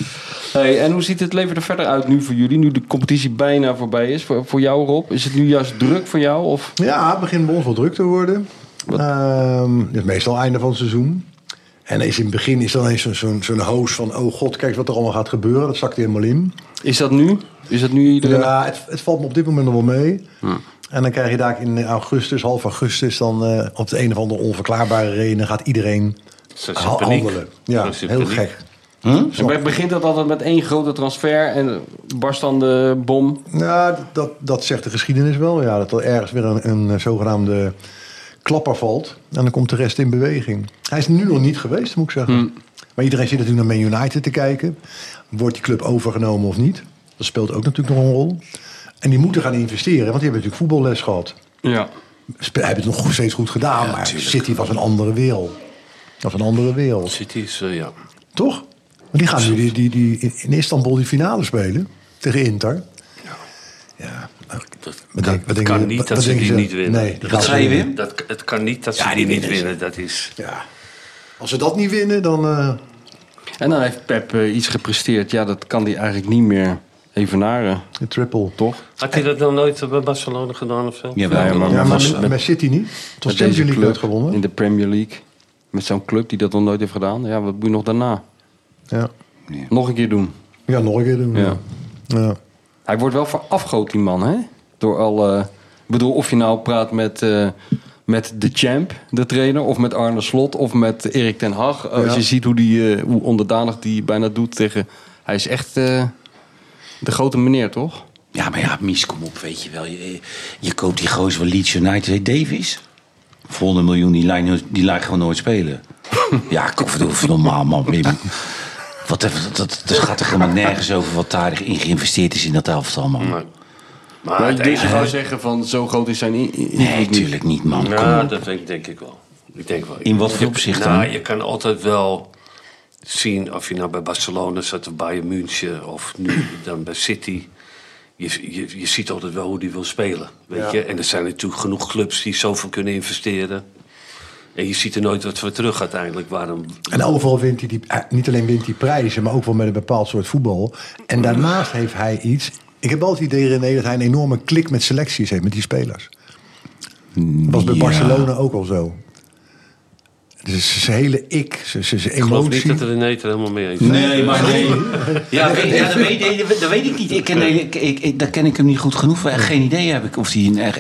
Speaker 2: Hey, en hoe ziet het leven er verder uit nu voor jullie? Nu de competitie bijna voorbij is. Voor, voor jou Rob, is het nu juist druk voor jou? Of?
Speaker 4: Ja, het begint bij ons wel druk te worden. Ehm, het is meestal einde van het seizoen. En is in het begin is dan eens zo'n zo'n zo'n hoos van... oh god, kijk wat er allemaal gaat gebeuren. Dat zakt helemaal in.
Speaker 2: Is dat nu? Is dat nu iedereen?
Speaker 4: Ja, het, het valt me op dit moment nog wel mee. En dan krijg je daar in augustus, half augustus... dan eh, op de een of andere onverklaarbare reden gaat iedereen
Speaker 3: Ze is in
Speaker 4: ha-
Speaker 3: paniek.
Speaker 4: handelen. Ja,
Speaker 3: Ze is in
Speaker 4: heel
Speaker 3: paniek.
Speaker 4: gek.
Speaker 2: Dus bij- begint dat altijd met één grote transfer en barst dan de bom?
Speaker 4: Ja, Nou, dat, dat zegt de geschiedenis wel. Ja, dat er ergens weer een, een zogenaamde klapper valt. En dan komt de rest in beweging. Hij is nu nog niet geweest, moet ik zeggen. Maar iedereen zit natuurlijk naar Man United te kijken. Wordt die club overgenomen of niet? Dat speelt ook natuurlijk nog een rol. En die moeten gaan investeren, want die hebben natuurlijk voetballes gehad.
Speaker 2: Ja.
Speaker 4: Spe- Hebben het nog steeds goed gedaan, maar City was een andere wereld. Dat was een andere wereld,
Speaker 3: City is, eh, ja.
Speaker 4: toch? Want die gaan nu die, die, die, in- in Istanbul die finale spelen tegen Inter. Ja, nou,
Speaker 3: Dat, dat
Speaker 4: wat denk- wat denk
Speaker 3: kan
Speaker 4: je-
Speaker 3: niet
Speaker 4: wat-
Speaker 3: dat
Speaker 4: wat
Speaker 3: ze
Speaker 4: denk
Speaker 3: die
Speaker 4: je?
Speaker 3: niet winnen.
Speaker 4: Nee, dat gaan ze niet
Speaker 5: winnen.
Speaker 3: Dat, het kan niet dat ze
Speaker 4: Ja,
Speaker 3: die,
Speaker 4: die
Speaker 3: niet
Speaker 4: winnen ze.
Speaker 3: winnen. Dat is...
Speaker 4: Ja. Als ze dat niet winnen, dan... eh,
Speaker 2: En dan heeft Pep eh, iets gepresteerd. Ja, dat kan hij eigenlijk niet meer evenaren,
Speaker 4: de triple.
Speaker 2: toch?
Speaker 3: Had hij dat dan nooit bij Barcelona gedaan of zo?
Speaker 5: Jawel,
Speaker 2: Ja, maar-
Speaker 4: Ja, maar
Speaker 5: was-
Speaker 4: met, met City niet. Tot
Speaker 2: Met
Speaker 4: Champions League werd gewonnen.
Speaker 2: in de Premier League. Met zo'n club die dat nog nooit heeft gedaan. Ja, wat moet je nog daarna?
Speaker 4: Ja.
Speaker 2: Nog een keer doen.
Speaker 4: ja, nog een keer doen.
Speaker 2: Ja.
Speaker 4: Ja. Ja.
Speaker 2: Hij wordt wel verafgoot, die man, hè? Door al. eh, ik bedoel, of je nou praat met, eh, met de champ, de trainer, of met Arne Slot, of met Erik ten Hag. Eh, Als
Speaker 4: Ja.
Speaker 2: je ziet hoe, die, eh, hoe onderdanig die bijna doet tegen. Hij is echt eh, de grote meneer, toch?
Speaker 5: Ja, maar ja, Mies, kom op, weet je wel. Je, je koopt die gozer van Leeds United, heet Davies. Voor een miljoen, die lijn, die lijn gewoon nooit spelen. ja, kom, verdomme, even normaal, man. Wim. Wat, even- dat, dat, dat gaat er helemaal nergens over wat daarin geïnvesteerd is in dat elftal, man.
Speaker 3: Maar, maar
Speaker 2: Maar
Speaker 3: het
Speaker 2: deze
Speaker 3: enige-
Speaker 2: zou zeggen van zo groot is zijn in- in-
Speaker 5: Nee,
Speaker 2: invloed niet.
Speaker 5: natuurlijk niet, man. Kom
Speaker 3: Nou,
Speaker 5: op.
Speaker 3: dat denk, denk ik wel. Ik denk wel.
Speaker 5: In wat voor
Speaker 3: Je-
Speaker 5: opzicht
Speaker 3: nou,
Speaker 5: dan?
Speaker 3: Je kan altijd wel zien of je nou bij Barcelona zat of Bayern München of nu dan bij City. Je, je, je ziet altijd wel hoe die wil spelen. Weet je? En er zijn natuurlijk genoeg clubs die zoveel kunnen investeren. En je ziet er nooit wat voor terug uiteindelijk. Waarom?
Speaker 4: En overal wint hij die, eh, niet alleen wint hij prijzen, maar ook wel met een bepaald soort voetbal. En daarnaast heeft hij iets. Ik heb altijd het idee, René, dat hij een enorme klik met selecties heeft met die spelers. Dat was bij
Speaker 5: Ja.
Speaker 4: Barcelona ook al zo. Dus zijn hele ik, zijn, zijn, zijn
Speaker 3: Ik geloof
Speaker 4: emotie.
Speaker 3: niet dat René het er helemaal mee eens is.
Speaker 5: Nee, maar nee. Ja, weet, ja, dat, weet, nee, dat weet ik niet. Ik ken, nee, ik, ik, ik- daar ken ik hem niet goed genoeg voor. Geen idee heb ik of die, een erg-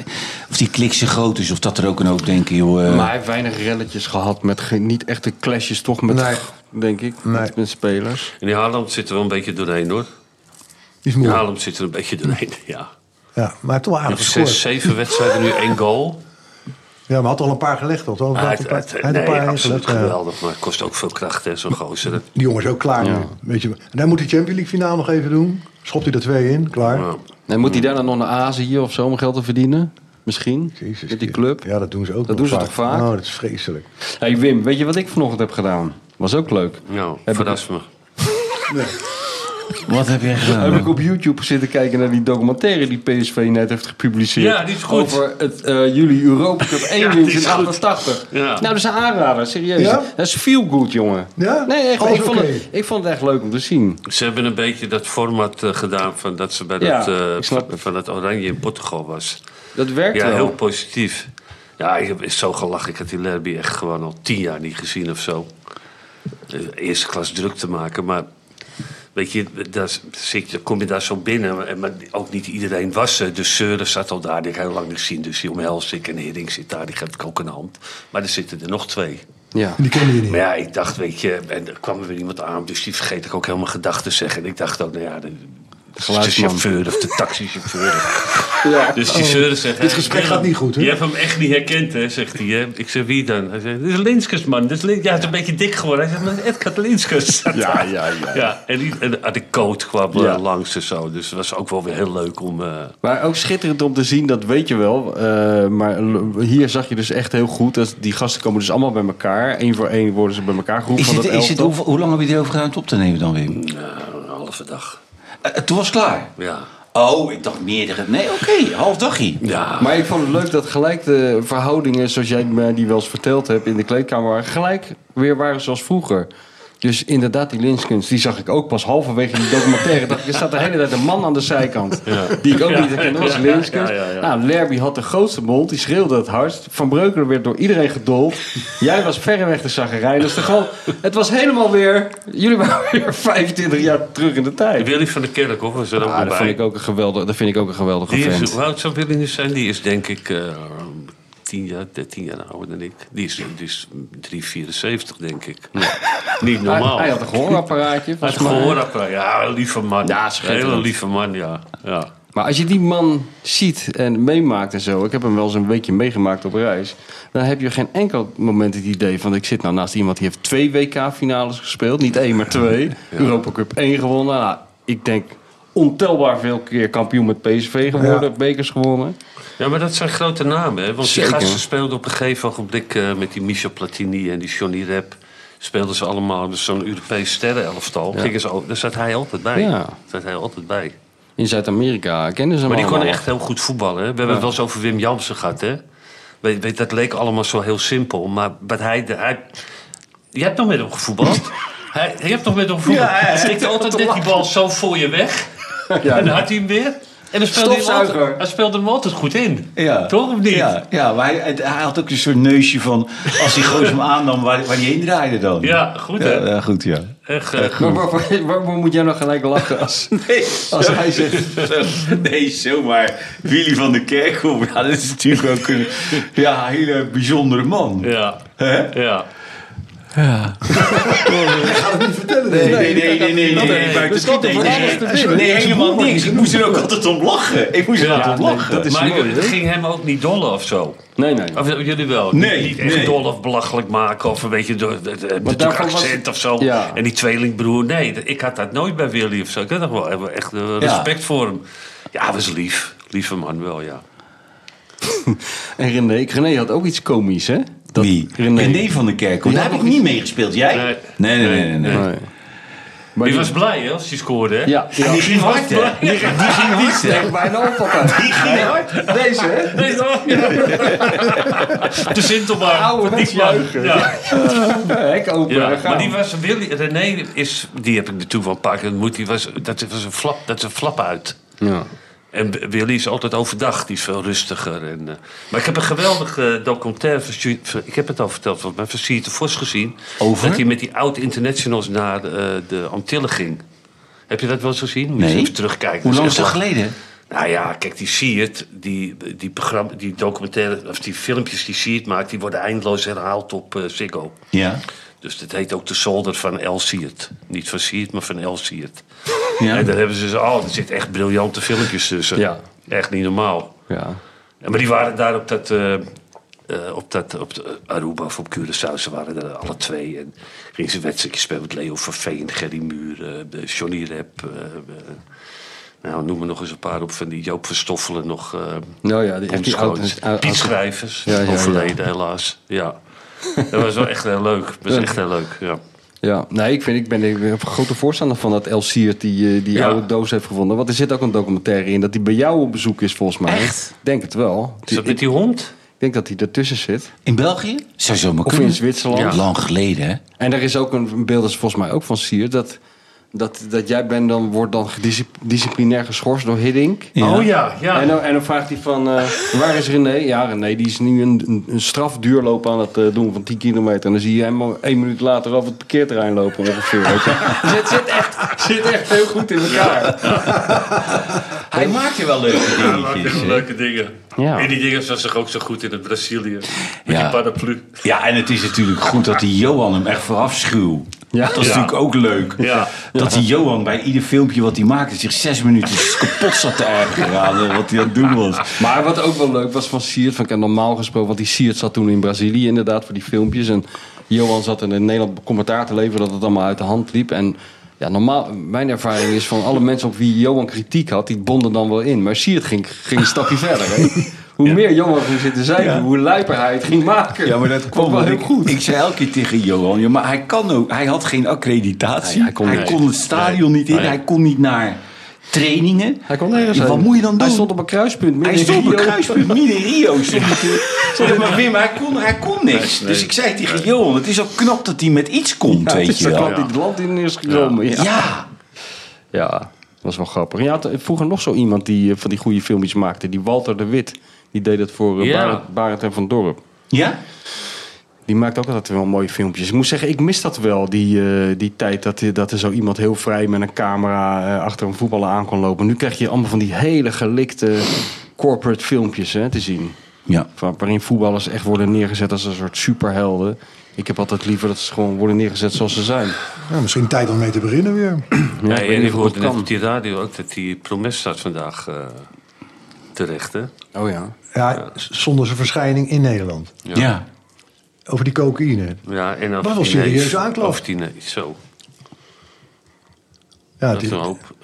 Speaker 5: of die klik zo groot is. Of dat er ook een hoop denken, joh. eh,
Speaker 2: Maar hij heeft weinig relletjes gehad met geen- niet echte clashes, toch? Met,
Speaker 4: Nee.
Speaker 2: Denk ik,
Speaker 4: Nee.
Speaker 2: met, met spelers.
Speaker 3: En die Haaland zit er wel een beetje doorheen hoor.
Speaker 4: Die is
Speaker 3: Die
Speaker 4: moe. Ja,
Speaker 3: Haaland zit er een beetje doorheen, ja.
Speaker 4: maar hij heeft toch wel aardig
Speaker 3: Zes,
Speaker 4: gescoord.
Speaker 3: zeven wedstrijden, nu één goal.
Speaker 4: Ja, maar hij had al een paar gelegd, toch? Hij
Speaker 3: Ah,
Speaker 4: had
Speaker 3: het-
Speaker 4: een paar-
Speaker 3: het-
Speaker 4: hij had een
Speaker 3: nee,
Speaker 4: paar
Speaker 3: absoluut
Speaker 4: ingelegd, ja.
Speaker 3: geweldig, maar het kost ook veel kracht, hè, zo'n gozer. Dat-
Speaker 4: Die jongen is ook klaar nu. Weet je. En dan moet die Champions League finale nog even doen. Schopt hij er twee in, klaar.
Speaker 3: Ja.
Speaker 2: En
Speaker 4: Hmm.
Speaker 2: moet hij daarna nog naar Azië of zo om geld te verdienen? Misschien?
Speaker 4: Jezus,
Speaker 2: met die
Speaker 4: ja.
Speaker 2: club?
Speaker 4: Ja, dat doen ze ook
Speaker 2: Dat
Speaker 4: nog
Speaker 2: doen ze toch vaak?
Speaker 4: Oh, dat is vreselijk.
Speaker 2: Hey Wim, weet je wat ik vanochtend heb gedaan? Was ook leuk.
Speaker 4: Hmm.
Speaker 3: Nou,
Speaker 2: Heb
Speaker 3: verras me.
Speaker 5: wat heb jij gedaan?
Speaker 2: Heb ik op YouTube zitten kijken naar die documentaire die PSV net heeft gepubliceerd.
Speaker 3: Ja, die is goed.
Speaker 2: Over het eh, jullie Europa Cup 1
Speaker 3: Ja, die
Speaker 2: winst
Speaker 3: is
Speaker 2: in
Speaker 3: goed.
Speaker 2: 88.
Speaker 3: Ja.
Speaker 2: Nou, dat is een aanrader, serieus.
Speaker 4: Ja?
Speaker 2: Dat is feel good, jongen.
Speaker 4: Ja?
Speaker 2: Nee, echt,
Speaker 4: Alles
Speaker 2: ik, vond
Speaker 4: oké.
Speaker 2: het, ik vond het echt leuk om te zien.
Speaker 3: Ze hebben een beetje dat format eh, gedaan van dat ze bij
Speaker 2: Ja,
Speaker 3: dat, eh,
Speaker 2: ik snap
Speaker 3: van,
Speaker 2: het.
Speaker 3: van dat oranje in Portugal was.
Speaker 2: Dat werkt
Speaker 3: Ja,
Speaker 2: wel.
Speaker 3: heel positief. Ja, ik heb is zo gelachen. Ik had die derby echt gewoon al tien jaar niet gezien of zo. Eh, eerste klas druk te maken, maar Weet je, daar zit, je- kom je daar zo binnen. en- Maar ook niet iedereen was er. Dus Seuren zat al daar, die ik heel lang niet zien. Dus die omhelst ik en Hering zit daar, die geeft ook een hand. Maar er zitten er nog twee.
Speaker 2: Ja.
Speaker 4: Die kende je niet.
Speaker 3: Maar ja, ik dacht, weet je, en er kwam er weer iemand aan, dus die vergeet ik ook helemaal gedachten te zeggen. En ik dacht ook, nou ja, de, de,
Speaker 2: geluidsman.
Speaker 3: chauffeur of de taxichauffeur. Dus die zeuren zeggen...
Speaker 4: Oh, Dit gesprek gaat niet goed, hè?
Speaker 3: Je hebt hem echt niet herkend, hè, zegt hij. Hè. Ik zeg, wie dan? Hij zegt, dit is Linskes, man. Dit is Lin- ja, het is een beetje dik geworden. Hij zegt, maar Edgar Linskes.
Speaker 2: Ja, ja, ja.
Speaker 3: ja, en, die, en ah, de coat kwam eh,
Speaker 2: Ja.
Speaker 3: langs en zo. Dus het was ook wel weer heel leuk om... eh,
Speaker 2: Maar ook schitterend om te zien, dat weet je wel. Eh, maar l- hier zag je dus echt heel goed. Dat die gasten komen dus allemaal bij elkaar. Eén voor één worden ze bij elkaar geroepen.
Speaker 5: Is
Speaker 2: van
Speaker 5: het,
Speaker 2: dat
Speaker 5: is het,
Speaker 2: elftal.
Speaker 5: hoe, hoe lang heb je erover gedaan om het op te nemen dan, Wim?
Speaker 3: nou, een halve dag.
Speaker 5: Eh, eh, toen was het klaar?
Speaker 3: Ja.
Speaker 5: Oh, ik dacht meerdere... Nee, oké, half dagje.
Speaker 3: Ja,
Speaker 2: Maar ik vond het leuk dat gelijk de verhoudingen, zoals jij mij die wel eens verteld hebt in de kleedkamer, waren gelijk weer waren zoals vroeger. Dus inderdaad, die linskunst, die zag ik ook pas halverwege die documentaire. Dacht ik, er staat de hele tijd een man aan de zijkant. Die ik ook niet herkende, dat was linskunst.
Speaker 3: ja, ja, ja.
Speaker 2: Nou, Lerby had de grootste mond, die schreeuwde het hardst. Van Breukelen werd door iedereen gedold. Jij was verreweg de zagerijn. Dus er gewoon, het was helemaal weer... Jullie waren weer 25 jaar terug in de tijd.
Speaker 3: Willy van de Kerk, hoor. Was er ook
Speaker 2: Ah,
Speaker 3: nog
Speaker 2: dat,
Speaker 3: bij.
Speaker 2: vind ik ook een geweldig, dat vind ik ook een geweldige
Speaker 3: Die is,
Speaker 2: vent.
Speaker 3: hoe oud zou Willy nu zijn? Die is denk ik eh, 10 jaar, 13 jaar ouder dan ik. Die is, die is 374, denk ik. Niet
Speaker 2: Hij,
Speaker 3: normaal.
Speaker 2: hij had een gehoorapparaatje.
Speaker 3: Hij
Speaker 2: volgens
Speaker 3: had
Speaker 2: mij.
Speaker 3: gehoorapparaat. Ja, een lieve man.
Speaker 2: Ja,
Speaker 3: Ja, een hele
Speaker 2: schitterend.
Speaker 3: lieve man, ja. ja.
Speaker 2: Maar als je die man ziet en meemaakt en zo, ik heb hem wel eens een weekje meegemaakt op reis, dan heb je geen enkel moment het idee van ik zit nou naast iemand die heeft twee WK-finales gespeeld, niet één maar twee, Europa Cup 1 gewonnen. Nou, ik denk ontelbaar veel keer kampioen met PSV geworden, bekers gewonnen.
Speaker 3: Ja, maar dat zijn grote namen, hè. Want
Speaker 2: Zeker.
Speaker 3: die gasten speelden op een gegeven ogenblik... eh, met die Michel Platini en die Johnny Rep... speelden ze allemaal dus zo'n Europees sterrenelftal. Gingen ze al- Daar zat hij altijd bij.
Speaker 2: Ja.
Speaker 3: Daar zat hij altijd bij.
Speaker 2: In Zuid-Amerika kennen ze hem
Speaker 3: Maar die kon
Speaker 2: allemaal.
Speaker 3: echt heel goed voetballen. Hè? We hebben het wel eens over Wim Jansen gehad. Hè? Weet, weet, dat leek allemaal zo heel simpel. Maar, maar hij, de- hij... Je hebt nog met hem gevoetbald. hij, je hebt nog met hem gevoetbald.
Speaker 2: Ja, hij-
Speaker 3: hij stikte altijd net die bal zo voor je weg. en dan had hij hem weer. En dan speelde hij, hem
Speaker 2: Stofzuiger.
Speaker 3: altijd, hij speelde hem altijd goed in.
Speaker 5: Ja.
Speaker 3: Toch of niet?
Speaker 5: Ja, ja maar hij, het- hij had ook een soort neusje van... als die gozer hem aannam, waar, waar die heen draaide dan.
Speaker 3: Ja, goed, hè?
Speaker 5: Ja, ja, goed, ja.
Speaker 3: Echt, eh,
Speaker 2: Maar waarvoor, waarvoor moet jij nou gelijk lachen als, als hij zegt...
Speaker 5: Nee, zomaar. Willy van der Kerkhoff, ja, dat is natuurlijk ook een ja, hele bijzondere man.
Speaker 3: ja. ja.
Speaker 5: Nee, nee, nee, nee, nee, nee, nee, maar
Speaker 2: Dus
Speaker 5: het is-
Speaker 2: dat
Speaker 5: nee,
Speaker 2: er van
Speaker 5: nee,
Speaker 2: alles te
Speaker 5: nee,
Speaker 2: winnen.
Speaker 5: nee,
Speaker 2: Dat is
Speaker 5: helemaal
Speaker 2: behoorlijk.
Speaker 5: niks. Ik moest er ook altijd om lachen. Ik moest er
Speaker 3: Ja,
Speaker 5: altijd om
Speaker 3: nee,
Speaker 5: lachen.
Speaker 2: dat is
Speaker 3: maar
Speaker 2: mooi, hè?
Speaker 3: het ging hem ook niet dollen of zo.
Speaker 2: Nee, nee.
Speaker 3: Of eh, jullie wel?
Speaker 5: Nee,
Speaker 3: Niet echt
Speaker 5: nee.
Speaker 3: dol of belachelijk maken of een beetje door het- het- het natuurlijk
Speaker 2: daarvan was-
Speaker 3: accent of zo.
Speaker 2: Ja.
Speaker 3: En die tweelingbroer, nee, d- ik had dat nooit bij Willy of zo. Ik had nog wel even echt eh, respect voor hem. Ja, hij was lief. Lieve man wel, ja.
Speaker 2: En René, René had ook iets komisch, hè? Dat-
Speaker 5: Wie?
Speaker 2: René.
Speaker 5: René van der Kerkhoff.
Speaker 2: Die
Speaker 5: Daar heb
Speaker 2: had
Speaker 5: ik
Speaker 2: nog
Speaker 5: niet mee gespeeld. Jij?
Speaker 3: Nee.
Speaker 5: Nee, nee, nee. nee, nee.
Speaker 2: Nee. Maar
Speaker 3: Die was blij hè, als hij scoorde. Hè?
Speaker 2: Ja, ja.
Speaker 5: Die ging hard, hè? Die ging hard, hè?
Speaker 2: Steek bijna op elkaar.
Speaker 5: Die ging hard.
Speaker 2: Deze, hè?
Speaker 3: Nee, dat- De Sintelbaar.
Speaker 2: Oude
Speaker 3: Die man.
Speaker 2: mensjuichen.
Speaker 3: Ja.
Speaker 2: Hek open.
Speaker 3: Ja,
Speaker 2: daar gaan
Speaker 3: maar
Speaker 2: we.
Speaker 3: die was Willy, René is, die heb ik natuurlijk wel een paar keer ontmoet. Die was, dat was een flap, dat is een flap uit.
Speaker 2: Ja.
Speaker 3: En B- Willy is altijd overdag, die is veel rustiger. En, eh, maar ik heb een geweldige documentaire, van Stu- van- ik heb het al verteld, volgens mij van Siert de Vos gezien.
Speaker 5: Over?
Speaker 3: Dat hij met die oud-internationals naar eh, de Antillen ging. Heb je dat wel eens gezien? Moet je
Speaker 5: Nee.
Speaker 3: eens even terugkijken.
Speaker 5: Hoe
Speaker 3: Dat
Speaker 5: lang is dat
Speaker 3: echt lang.
Speaker 5: geleden?
Speaker 3: Nou ja, kijk, die Siert, die, die, programma, die documentaire, of die filmpjes die Siert maakt... die worden eindeloos herhaald op eh Ziggo.
Speaker 5: Ja.
Speaker 3: Dus dat heet ook de zolder van El Siert. Niet van Siert, maar van El Siert.
Speaker 5: Ja.
Speaker 3: En daar hebben ze zo, oh, er zitten echt briljante filmpjes tussen.
Speaker 2: Ja.
Speaker 3: Echt niet normaal.
Speaker 2: ja.
Speaker 3: Ja, maar die waren daar op dat, eh, eh, op dat op de Aruba of op Curaçao. Ze waren er alle twee. En gingen ze een wedstrijdje spelen met Leo van Veen, Gerry Muur, eh, de Johnny Rep. eh, eh, nou, noem er nog eens een paar op van die Joop Verstoffelen nog. eh
Speaker 2: Nou ja, die- echt die
Speaker 3: Bondscoach.
Speaker 2: oud- oud-
Speaker 3: Piet
Speaker 2: oud-
Speaker 3: Schrijvers,
Speaker 2: Ja, ja, ja.
Speaker 3: overleden helaas. Ja. Dat was wel echt heel leuk. Dat was echt heel leuk, ja.
Speaker 2: Ja, nee, ik, vind, ik ben ik ben een grote voorstander van dat El Siert die, eh, die
Speaker 3: Ja.
Speaker 2: oude doos heeft gevonden. Want er zit ook een documentaire in dat die bij jou op bezoek is, volgens mij.
Speaker 5: Echt?
Speaker 2: Ik Denk het wel.
Speaker 3: Is dat
Speaker 2: ik
Speaker 3: met die hond?
Speaker 2: denk dat hij ertussen zit.
Speaker 5: In België? Zou zomaar
Speaker 2: Of in
Speaker 5: kunnen.
Speaker 2: Zwitserland.
Speaker 5: Lang geleden, hè?
Speaker 2: En er is ook een beeld, dat is volgens mij ook van Siert, dat Dat, dat jij bent dan, wordt dan gediscip- disciplinair geschorst door Hiddink.
Speaker 3: Oh ja, ja.
Speaker 2: En, dan, en dan vraagt hij van, eh, waar is René? Ja, René die is nu een, een- een strafduurloop aan het eh, doen van 10 kilometer. En dan zie je hem al één minuut later over het parkeerterrein lopen ongeveer. Weet je. Dus het zit echt, zit echt heel goed in elkaar.
Speaker 5: Hij maakt je wel leuke
Speaker 3: Ja, maar ik vind
Speaker 5: dingetjes.
Speaker 3: wel
Speaker 5: hè?
Speaker 3: leuke dingen.
Speaker 2: Ja.
Speaker 3: En die dingen was zich ook zo goed in het Brazilië. Met
Speaker 5: Ja.
Speaker 3: die paraplu.
Speaker 5: Ja, en het is natuurlijk goed dat die Johan hem echt verafschuwt.
Speaker 2: Ja.
Speaker 5: Dat is
Speaker 3: Ja.
Speaker 5: natuurlijk ook leuk.
Speaker 3: Ja.
Speaker 5: Dat die Johan bij ieder filmpje wat hij maakte zich zes minuten kapot zat te ergeren aan eh, wat hij aan het doen was.
Speaker 2: Maar wat ook wel leuk was van Siert, van ik heb normaal gesproken, want die Siert zat toen in Brazilië inderdaad voor die filmpjes. En Johan zat in Nederland commentaar te leveren dat het allemaal uit de hand liep. En ja, normaal, mijn ervaring is van alle mensen op wie Johan kritiek had, die bonden dan wel in. Maar Siert ging, ging een stapje verder. Hè? Hoe meer Johan ging zitten zijn, hoe luiper hij het ging maken. Vond ik wel
Speaker 5: ik,
Speaker 2: heel goed.
Speaker 5: Ik zei elke keer tegen Johan, "Ja, maar hij kan ook. Hij had geen accreditatie.
Speaker 2: Nee,
Speaker 5: hij
Speaker 2: hij
Speaker 5: kon,
Speaker 2: kon niet.
Speaker 5: het stadion niet in. Hij kon niet naar trainingen.
Speaker 2: hij kon nergens
Speaker 5: Wat
Speaker 2: heen.
Speaker 5: moet je dan doen?
Speaker 2: Hij stond op een kruispunt. midden
Speaker 5: Hij
Speaker 2: in
Speaker 5: stond op een
Speaker 2: Rio.
Speaker 5: kruispunt midden in Rio. stond hij te- stond hij maar Wim, hij kon, hij kon niks. Dus ik zei tegen Johan, het is ook knap dat hij met iets komt,
Speaker 2: Ja, het
Speaker 5: weet
Speaker 2: is
Speaker 5: je
Speaker 2: dat
Speaker 5: wel.
Speaker 2: land die het land in is gekomen.
Speaker 5: Ja.
Speaker 2: Ja, was wel grappig. Je had vroeger nog zo iemand die eh, van die goede filmpjes maakte. Die Walter de Wit. Die deed het voor eh,
Speaker 3: Ja.
Speaker 2: Barend, Barend en Van Dorp.
Speaker 5: Ja?
Speaker 2: Die maakt ook altijd wel mooie filmpjes. Ik moet zeggen, ik mis dat wel. Die, eh, die tijd dat, eh, dat er zo iemand heel vrij met een camera eh, achter een voetballer aan kon lopen. Nu krijg je allemaal van die hele gelikte corporate filmpjes hè, te zien.
Speaker 5: Ja.
Speaker 2: Waar- waarin voetballers echt worden neergezet als een soort superhelden. Ik heb altijd liever dat ze gewoon worden neergezet zoals ze zijn.
Speaker 4: Ja, misschien tijd om mee te beginnen weer.
Speaker 2: Ja,
Speaker 3: Nee,
Speaker 2: ik weet
Speaker 3: en
Speaker 2: niet
Speaker 3: ik
Speaker 2: of dat
Speaker 3: hoorde net
Speaker 2: kan.
Speaker 3: op die radio ook dat die promes staat vandaag eh, terecht, hè?
Speaker 2: Oh ja.
Speaker 4: Ja, s- zonder zijn verschijning in Nederland.
Speaker 5: Ja.
Speaker 4: Over die cocaïne.
Speaker 3: Ja, en of
Speaker 4: Dat was
Speaker 3: die nee-
Speaker 4: serieuze aanklacht.
Speaker 3: Of die nee, zo.
Speaker 4: Ja,
Speaker 3: Dat
Speaker 4: dit-
Speaker 3: is een hoop.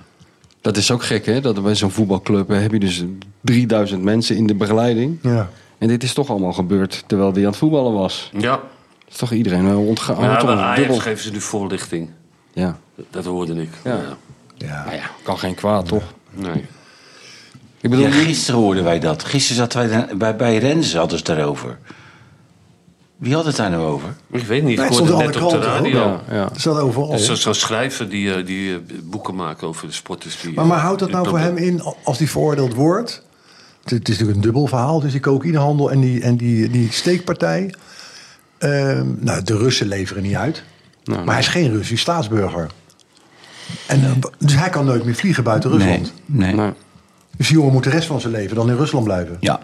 Speaker 2: Dat is ook gek, hè? Dat bij zo'n voetbalclub eh, heb je dus 3000 mensen in de begeleiding.
Speaker 4: ja.
Speaker 2: En dit is toch allemaal gebeurd terwijl die aan het voetballen was.
Speaker 4: Oh,
Speaker 3: Ja,
Speaker 2: Dat is toch iedereen eh, wel ontgaan.
Speaker 3: ja bij Ajax
Speaker 2: dubbel.
Speaker 3: geven ze nu voorlichting.
Speaker 2: Ja.
Speaker 3: Dat hoorde ik.
Speaker 2: Ja.
Speaker 4: ja.
Speaker 2: Nou ja, kan geen kwaad, toch?
Speaker 3: Nee.
Speaker 2: Ik
Speaker 5: Ja,
Speaker 2: bedoel,
Speaker 5: gisteren hoorden wij dat. Gisteren zaten wij daar- bij, bij Renze hadden ze het daarover. Wie had het daar nou over?
Speaker 3: Ik weet niet,
Speaker 4: Nee,
Speaker 3: ik
Speaker 4: het
Speaker 3: hoorde het
Speaker 4: stond in
Speaker 3: net
Speaker 4: alle
Speaker 3: op de
Speaker 4: kranten,
Speaker 3: radio.
Speaker 2: ja, ja.
Speaker 4: Het staat overal.
Speaker 3: Zo- Zo'n schrijver die, eh, die eh, boeken maakt over de sporters. Die,
Speaker 4: Maar, maar houdt dat
Speaker 3: eh,
Speaker 4: nou voor hem in als hij veroordeeld wordt? Het, het is natuurlijk een dubbel verhaal. Dus die cocaïnehandel en die, en die, die steekpartij. Ehm, nou, de Russen leveren niet uit.
Speaker 2: Nou,
Speaker 4: maar hij is geen Russisch staatsburger. En, eh, Dus hij kan nooit meer vliegen buiten Rusland.
Speaker 5: nee.
Speaker 2: nee.
Speaker 4: Dus die jongen moet de rest van zijn leven dan in Rusland blijven.
Speaker 5: Ja.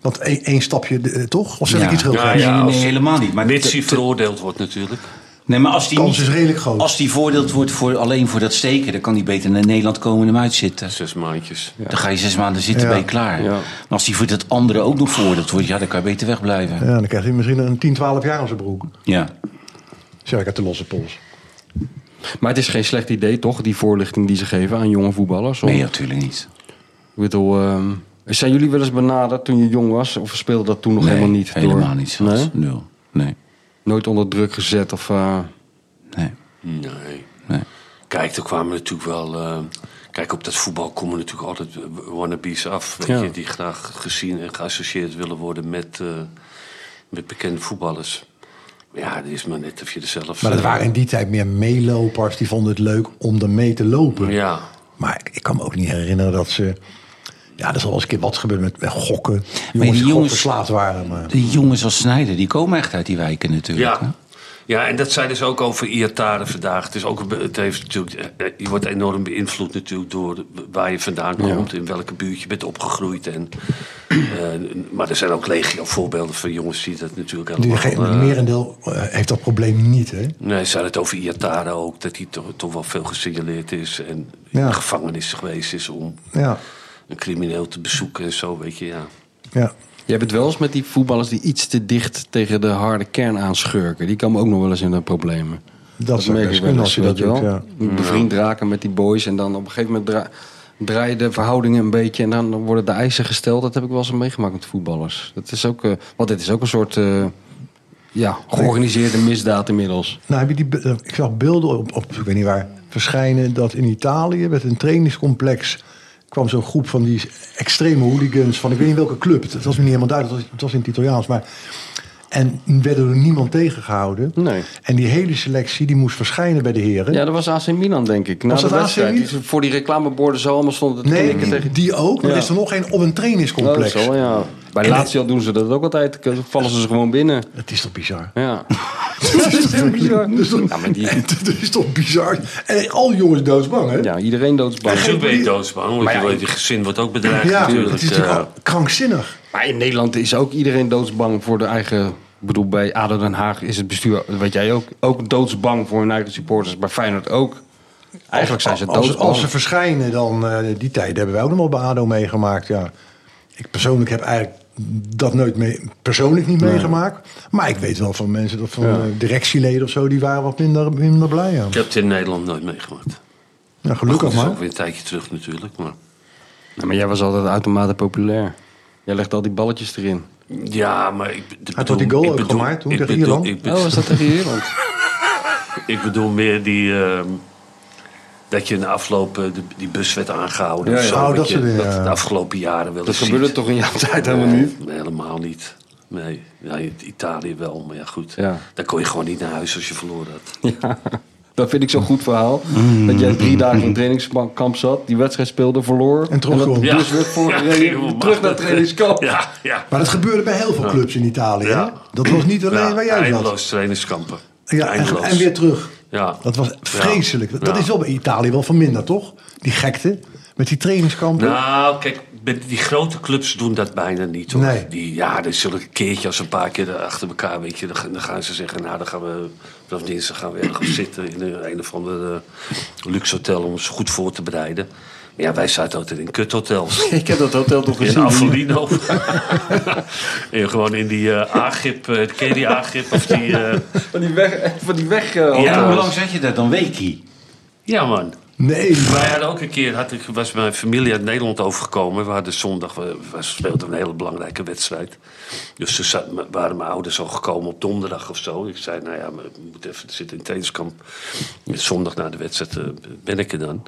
Speaker 4: Want één één stapje, eh, toch? Of zeg
Speaker 5: Ja.
Speaker 4: ik iets heel
Speaker 3: Ja,
Speaker 4: geks?
Speaker 5: Nee,
Speaker 3: ja,
Speaker 5: nee,
Speaker 3: als-
Speaker 5: helemaal niet. Maar
Speaker 3: Mits
Speaker 5: te-
Speaker 3: hij
Speaker 5: te-
Speaker 3: veroordeeld wordt natuurlijk.
Speaker 5: nee, maar als die
Speaker 4: Kans
Speaker 5: niet-
Speaker 4: is redelijk groot.
Speaker 5: Als die voordeeld wordt voor, alleen voor dat steken, dan kan die beter naar Nederland komen en hem uitzitten.
Speaker 3: Zes maandjes.
Speaker 5: Dan ga je zes maanden zitten,
Speaker 4: Ja.
Speaker 5: ben je klaar.
Speaker 2: Ja.
Speaker 5: Maar als die voor dat andere ook nog veroordeeld wordt, ja, dan kan je beter wegblijven.
Speaker 4: Ja, dan krijgt hij misschien een 10, 12 jaar aan zijn broek.
Speaker 5: Ja.
Speaker 4: Zeg ik uit de losse pols.
Speaker 2: Maar het is geen slecht idee, toch? Die voorlichting die ze geven aan jonge voetballers. om-
Speaker 5: Nee, natuurlijk niet.
Speaker 2: Ik bedoel, ehm, zijn jullie wel eens benaderd toen je jong was? Of speelde dat toen nog
Speaker 5: Nee,
Speaker 2: helemaal niet? door?
Speaker 5: Helemaal niet, schat.
Speaker 2: Nee?
Speaker 5: Nul. Nee.
Speaker 2: Nooit onder druk gezet of... eh,
Speaker 5: Nee.
Speaker 3: Nee.
Speaker 5: Nee.
Speaker 3: Kijk, er kwamen natuurlijk wel... eh, kijk, op dat voetbal komen natuurlijk altijd eh, wannabes af. Weet
Speaker 2: Ja.
Speaker 3: je, die graag gezien en geassocieerd willen worden met, eh, met bekende voetballers. Maar ja, het is maar net of je er zelf... eh,
Speaker 4: Maar dat waren in die tijd meer meelopers. Die vonden het leuk om er mee te lopen.
Speaker 3: Ja.
Speaker 4: Maar ik kan me ook niet herinneren dat ze... Ja, er zal wel eens een keer wat gebeurd met, met gokken. Jongens
Speaker 5: die
Speaker 4: die
Speaker 5: jongens-
Speaker 4: jongens verslaafd waren. Maar...
Speaker 5: Die jongens als Snijder, die komen echt uit die wijken natuurlijk. hè?
Speaker 3: Ja. ja, en dat zei dus ook over Iataren vandaag. Het, is ook, een be- het heeft natuurlijk, eh, eh, je wordt enorm beïnvloed natuurlijk door de- waar je vandaan komt... in welke buurt je bent opgegroeid. En, eh, maar er zijn ook legio voorbeelden van jongens die dat natuurlijk
Speaker 4: Die,
Speaker 3: helemaal...
Speaker 4: ge-
Speaker 3: eh,
Speaker 4: merendeel eh, heeft dat probleem niet, hè?
Speaker 3: Nee, ze hadden het over Iatara ook, dat hij toch, toch wel veel gesignaleerd is en in
Speaker 4: Ja.
Speaker 3: de gevangenis geweest is om
Speaker 4: Ja,
Speaker 3: een crimineel te bezoeken en zo, weet je, ja.
Speaker 4: ja.
Speaker 2: Je hebt het wel eens met die voetballers die iets te dicht tegen de harde kern aanschurken. Die komen ook nog wel eens in de problemen.
Speaker 4: Dat zou best
Speaker 2: wel
Speaker 4: kunnen
Speaker 2: eens,
Speaker 4: als je dat
Speaker 2: weet
Speaker 4: doet,
Speaker 2: wel. Bevriend raken met die boys en dan op een gegeven moment dra- draaien de verhoudingen een beetje en dan worden de eisen gesteld. Dat heb ik wel eens meegemaakt met voetballers. Dat is ook, eh, want dit is ook een soort eh, ja, georganiseerde misdaad inmiddels.
Speaker 4: Nou, heb je die, be- ik zag beelden op, op, ik weet niet waar, verschijnen dat in Italië met een trainingscomplex kwam zo'n groep van die extreme hooligans van ik weet niet welke club. Het was me niet helemaal duidelijk, het was, het was in het Italiaans. Maar En werden door niemand tegengehouden.
Speaker 2: Nee.
Speaker 4: En die hele selectie die moest verschijnen bij de heren.
Speaker 2: Ja, dat was AC Milan, denk ik. Na
Speaker 4: Was
Speaker 2: de
Speaker 4: dat AC
Speaker 2: wedstrijd.
Speaker 4: Milan?
Speaker 2: Die voor die reclameborden zo allemaal stonden te
Speaker 4: nee,
Speaker 2: knikken tegen...
Speaker 4: die, die ook. Maar
Speaker 2: Ja.
Speaker 4: er is er nog één op een
Speaker 2: Oh, dat
Speaker 4: trainingscomplex.
Speaker 2: zal wel, ja. Bij
Speaker 4: En-
Speaker 2: Lazio doen ze dat ook altijd. Dan vallen ze ze gewoon binnen.
Speaker 4: Het is toch bizar?
Speaker 2: Ja.
Speaker 4: Dat is toch bizar? Dat is toch-
Speaker 2: Ja, maar die-
Speaker 4: Dat is toch bizar? En al die jongens doodsbang, hè?
Speaker 2: ja, iedereen
Speaker 3: Maar
Speaker 2: doodsbang.
Speaker 3: zo ben je doodsbang, want
Speaker 2: Maar
Speaker 3: je
Speaker 2: ja,
Speaker 3: weet, je gezin wordt ook bedreigd
Speaker 4: Ja,
Speaker 3: natuurlijk.
Speaker 4: het is natuurlijk
Speaker 3: eh.
Speaker 4: al krankzinnig.
Speaker 2: Maar in Nederland is ook iedereen doodsbang voor de eigen... Ik bedoel, bij ADO Den Haag is het bestuur, weet jij ook, ook doodsbang voor hun eigen supporters. Bij Feyenoord ook. Eigenlijk zijn ze
Speaker 4: Als,
Speaker 2: doodsbang.
Speaker 4: als ze verschijnen, dan eh, die tijd hebben wij ook nog wel bij ADO meegemaakt. Ja. Ik persoonlijk heb eigenlijk dat nooit mee, persoonlijk niet meegemaakt. Maar ik weet wel van mensen, dat van eh, directieleden of zo, die waren wat minder, minder blij. Ja.
Speaker 3: Ik heb het in Nederland nooit meegemaakt.
Speaker 4: Ja,
Speaker 3: Goed,
Speaker 4: gelukkig
Speaker 3: dat is
Speaker 4: maar.
Speaker 3: ook weer een tijdje terug natuurlijk. Maar
Speaker 2: Ja, Nou, maar jij was altijd uitermate populair. Jij legt al die balletjes erin.
Speaker 3: ja, maar ik, ik
Speaker 4: had die goal ook gemaakt toen
Speaker 3: ik
Speaker 4: tegen
Speaker 3: bedoel,
Speaker 4: Ierland?
Speaker 3: Ik,
Speaker 2: Oh,
Speaker 3: bedoel-
Speaker 2: was dat tegen Ierland?
Speaker 3: ik bedoel meer die... ehm, dat je in de afloop eh, de- die bus werd aangehouden.
Speaker 2: Ja,
Speaker 3: of
Speaker 2: ja.
Speaker 3: zo,
Speaker 4: Oh,
Speaker 3: weet
Speaker 4: dat
Speaker 3: je,
Speaker 4: soort dingen, ja.
Speaker 3: de afgelopen jaren wel
Speaker 2: Dat
Speaker 3: eens
Speaker 2: gebeurde
Speaker 3: ziet.
Speaker 2: toch in jouw tijd helemaal niet?
Speaker 3: Nee, helemaal niet. Nee, ja, in Italië wel, maar ja goed.
Speaker 2: Ja.
Speaker 3: Daar kon je gewoon niet naar huis als je verloren had.
Speaker 2: Ja, dat vind ik zo'n goed verhaal. Dat jij drie dagen in trainingskamp zat, die wedstrijd speelde, verloor.
Speaker 4: En terug
Speaker 2: dat
Speaker 4: gewoon.
Speaker 2: bus werd
Speaker 3: ging
Speaker 2: voorgereden,
Speaker 3: helemaal
Speaker 2: terug naar
Speaker 3: makkelijk.
Speaker 2: trainingskamp.
Speaker 3: Ja, ja.
Speaker 4: Maar dat gebeurde bij heel veel clubs in Italië. hè?
Speaker 3: Ja.
Speaker 4: Dat was niet alleen
Speaker 3: Ja,
Speaker 4: waar jij zat.
Speaker 3: Eindeloos trainingskampen.
Speaker 4: Ja, en,
Speaker 3: Eindeloos.
Speaker 4: en weer terug.
Speaker 3: Ja.
Speaker 4: Dat was vreselijk. Dat
Speaker 3: Ja.
Speaker 4: is wel bij Italië wel verminderd, toch? Die gekte met die trainingskampen.
Speaker 3: Nou, kijk, met die grote clubs doen dat bijna niet, hoor.
Speaker 4: Nee.
Speaker 3: Die, ja, er zullen een keertje als een paar keer achter elkaar, weet je, dan, gaan- dan gaan ze zeggen, nou, dan gaan we vanaf dinsdag gaan we ergens zitten in een, een of ander eh, luxe hotel om ons goed voor te bereiden. Maar ja, wij zaten altijd in kuthotels.
Speaker 2: Ik heb dat hotel toch
Speaker 3: In
Speaker 2: gezien.
Speaker 3: Avellino. en gewoon in die eh A-gip, eh, ken je die A-gip of die... eh,
Speaker 2: Van die weg. Van die weg eh,
Speaker 3: Ja.
Speaker 2: hotel.
Speaker 5: hoe lang zet je dat dan, weekie?
Speaker 3: Ja, man.
Speaker 4: Nee,
Speaker 3: Wij hadden ook een keer, had ik, was mijn familie uit Nederland overgekomen. We hadden zondag, we, we speelden een hele belangrijke wedstrijd. Dus toen zat- m- waren mijn ouders al gekomen op donderdag of zo. Ik zei, nou ja, maar ik moet even zitten in trainingskamp. Zondag na de wedstrijd eh, ben ik er dan.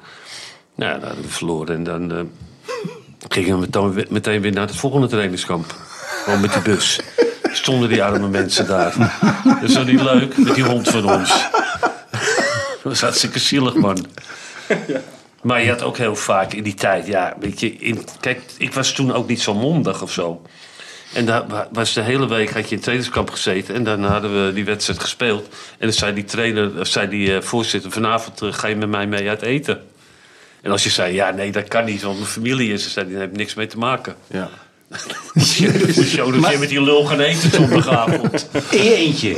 Speaker 3: Nou ja, dan hadden we verloren. En dan eh, gingen we dan we- meteen weer naar het volgende trainingskamp. Gewoon met die bus. Stonden die arme mensen daar. Dat is nou niet leuk, met die hond van ons. Dat was hartstikke zielig, man. Maar je had ook heel vaak in die tijd, ja, weet je, in, kijk, ik was toen ook niet zo mondig of zo. En daar wa- was de hele week had je in het trainingskamp gezeten en daarna hadden we die wedstrijd gespeeld. En dan zei die trainer, of zei die eh, voorzitter, vanavond eh, ga je met mij mee uit eten. En als je zei, ja, nee, dat kan niet, want mijn familie is er, zei die, daar heb ik niks mee te maken.
Speaker 2: Ja.
Speaker 3: Zo dat je met die lul gaan eten zondagavond.
Speaker 5: In je eentje.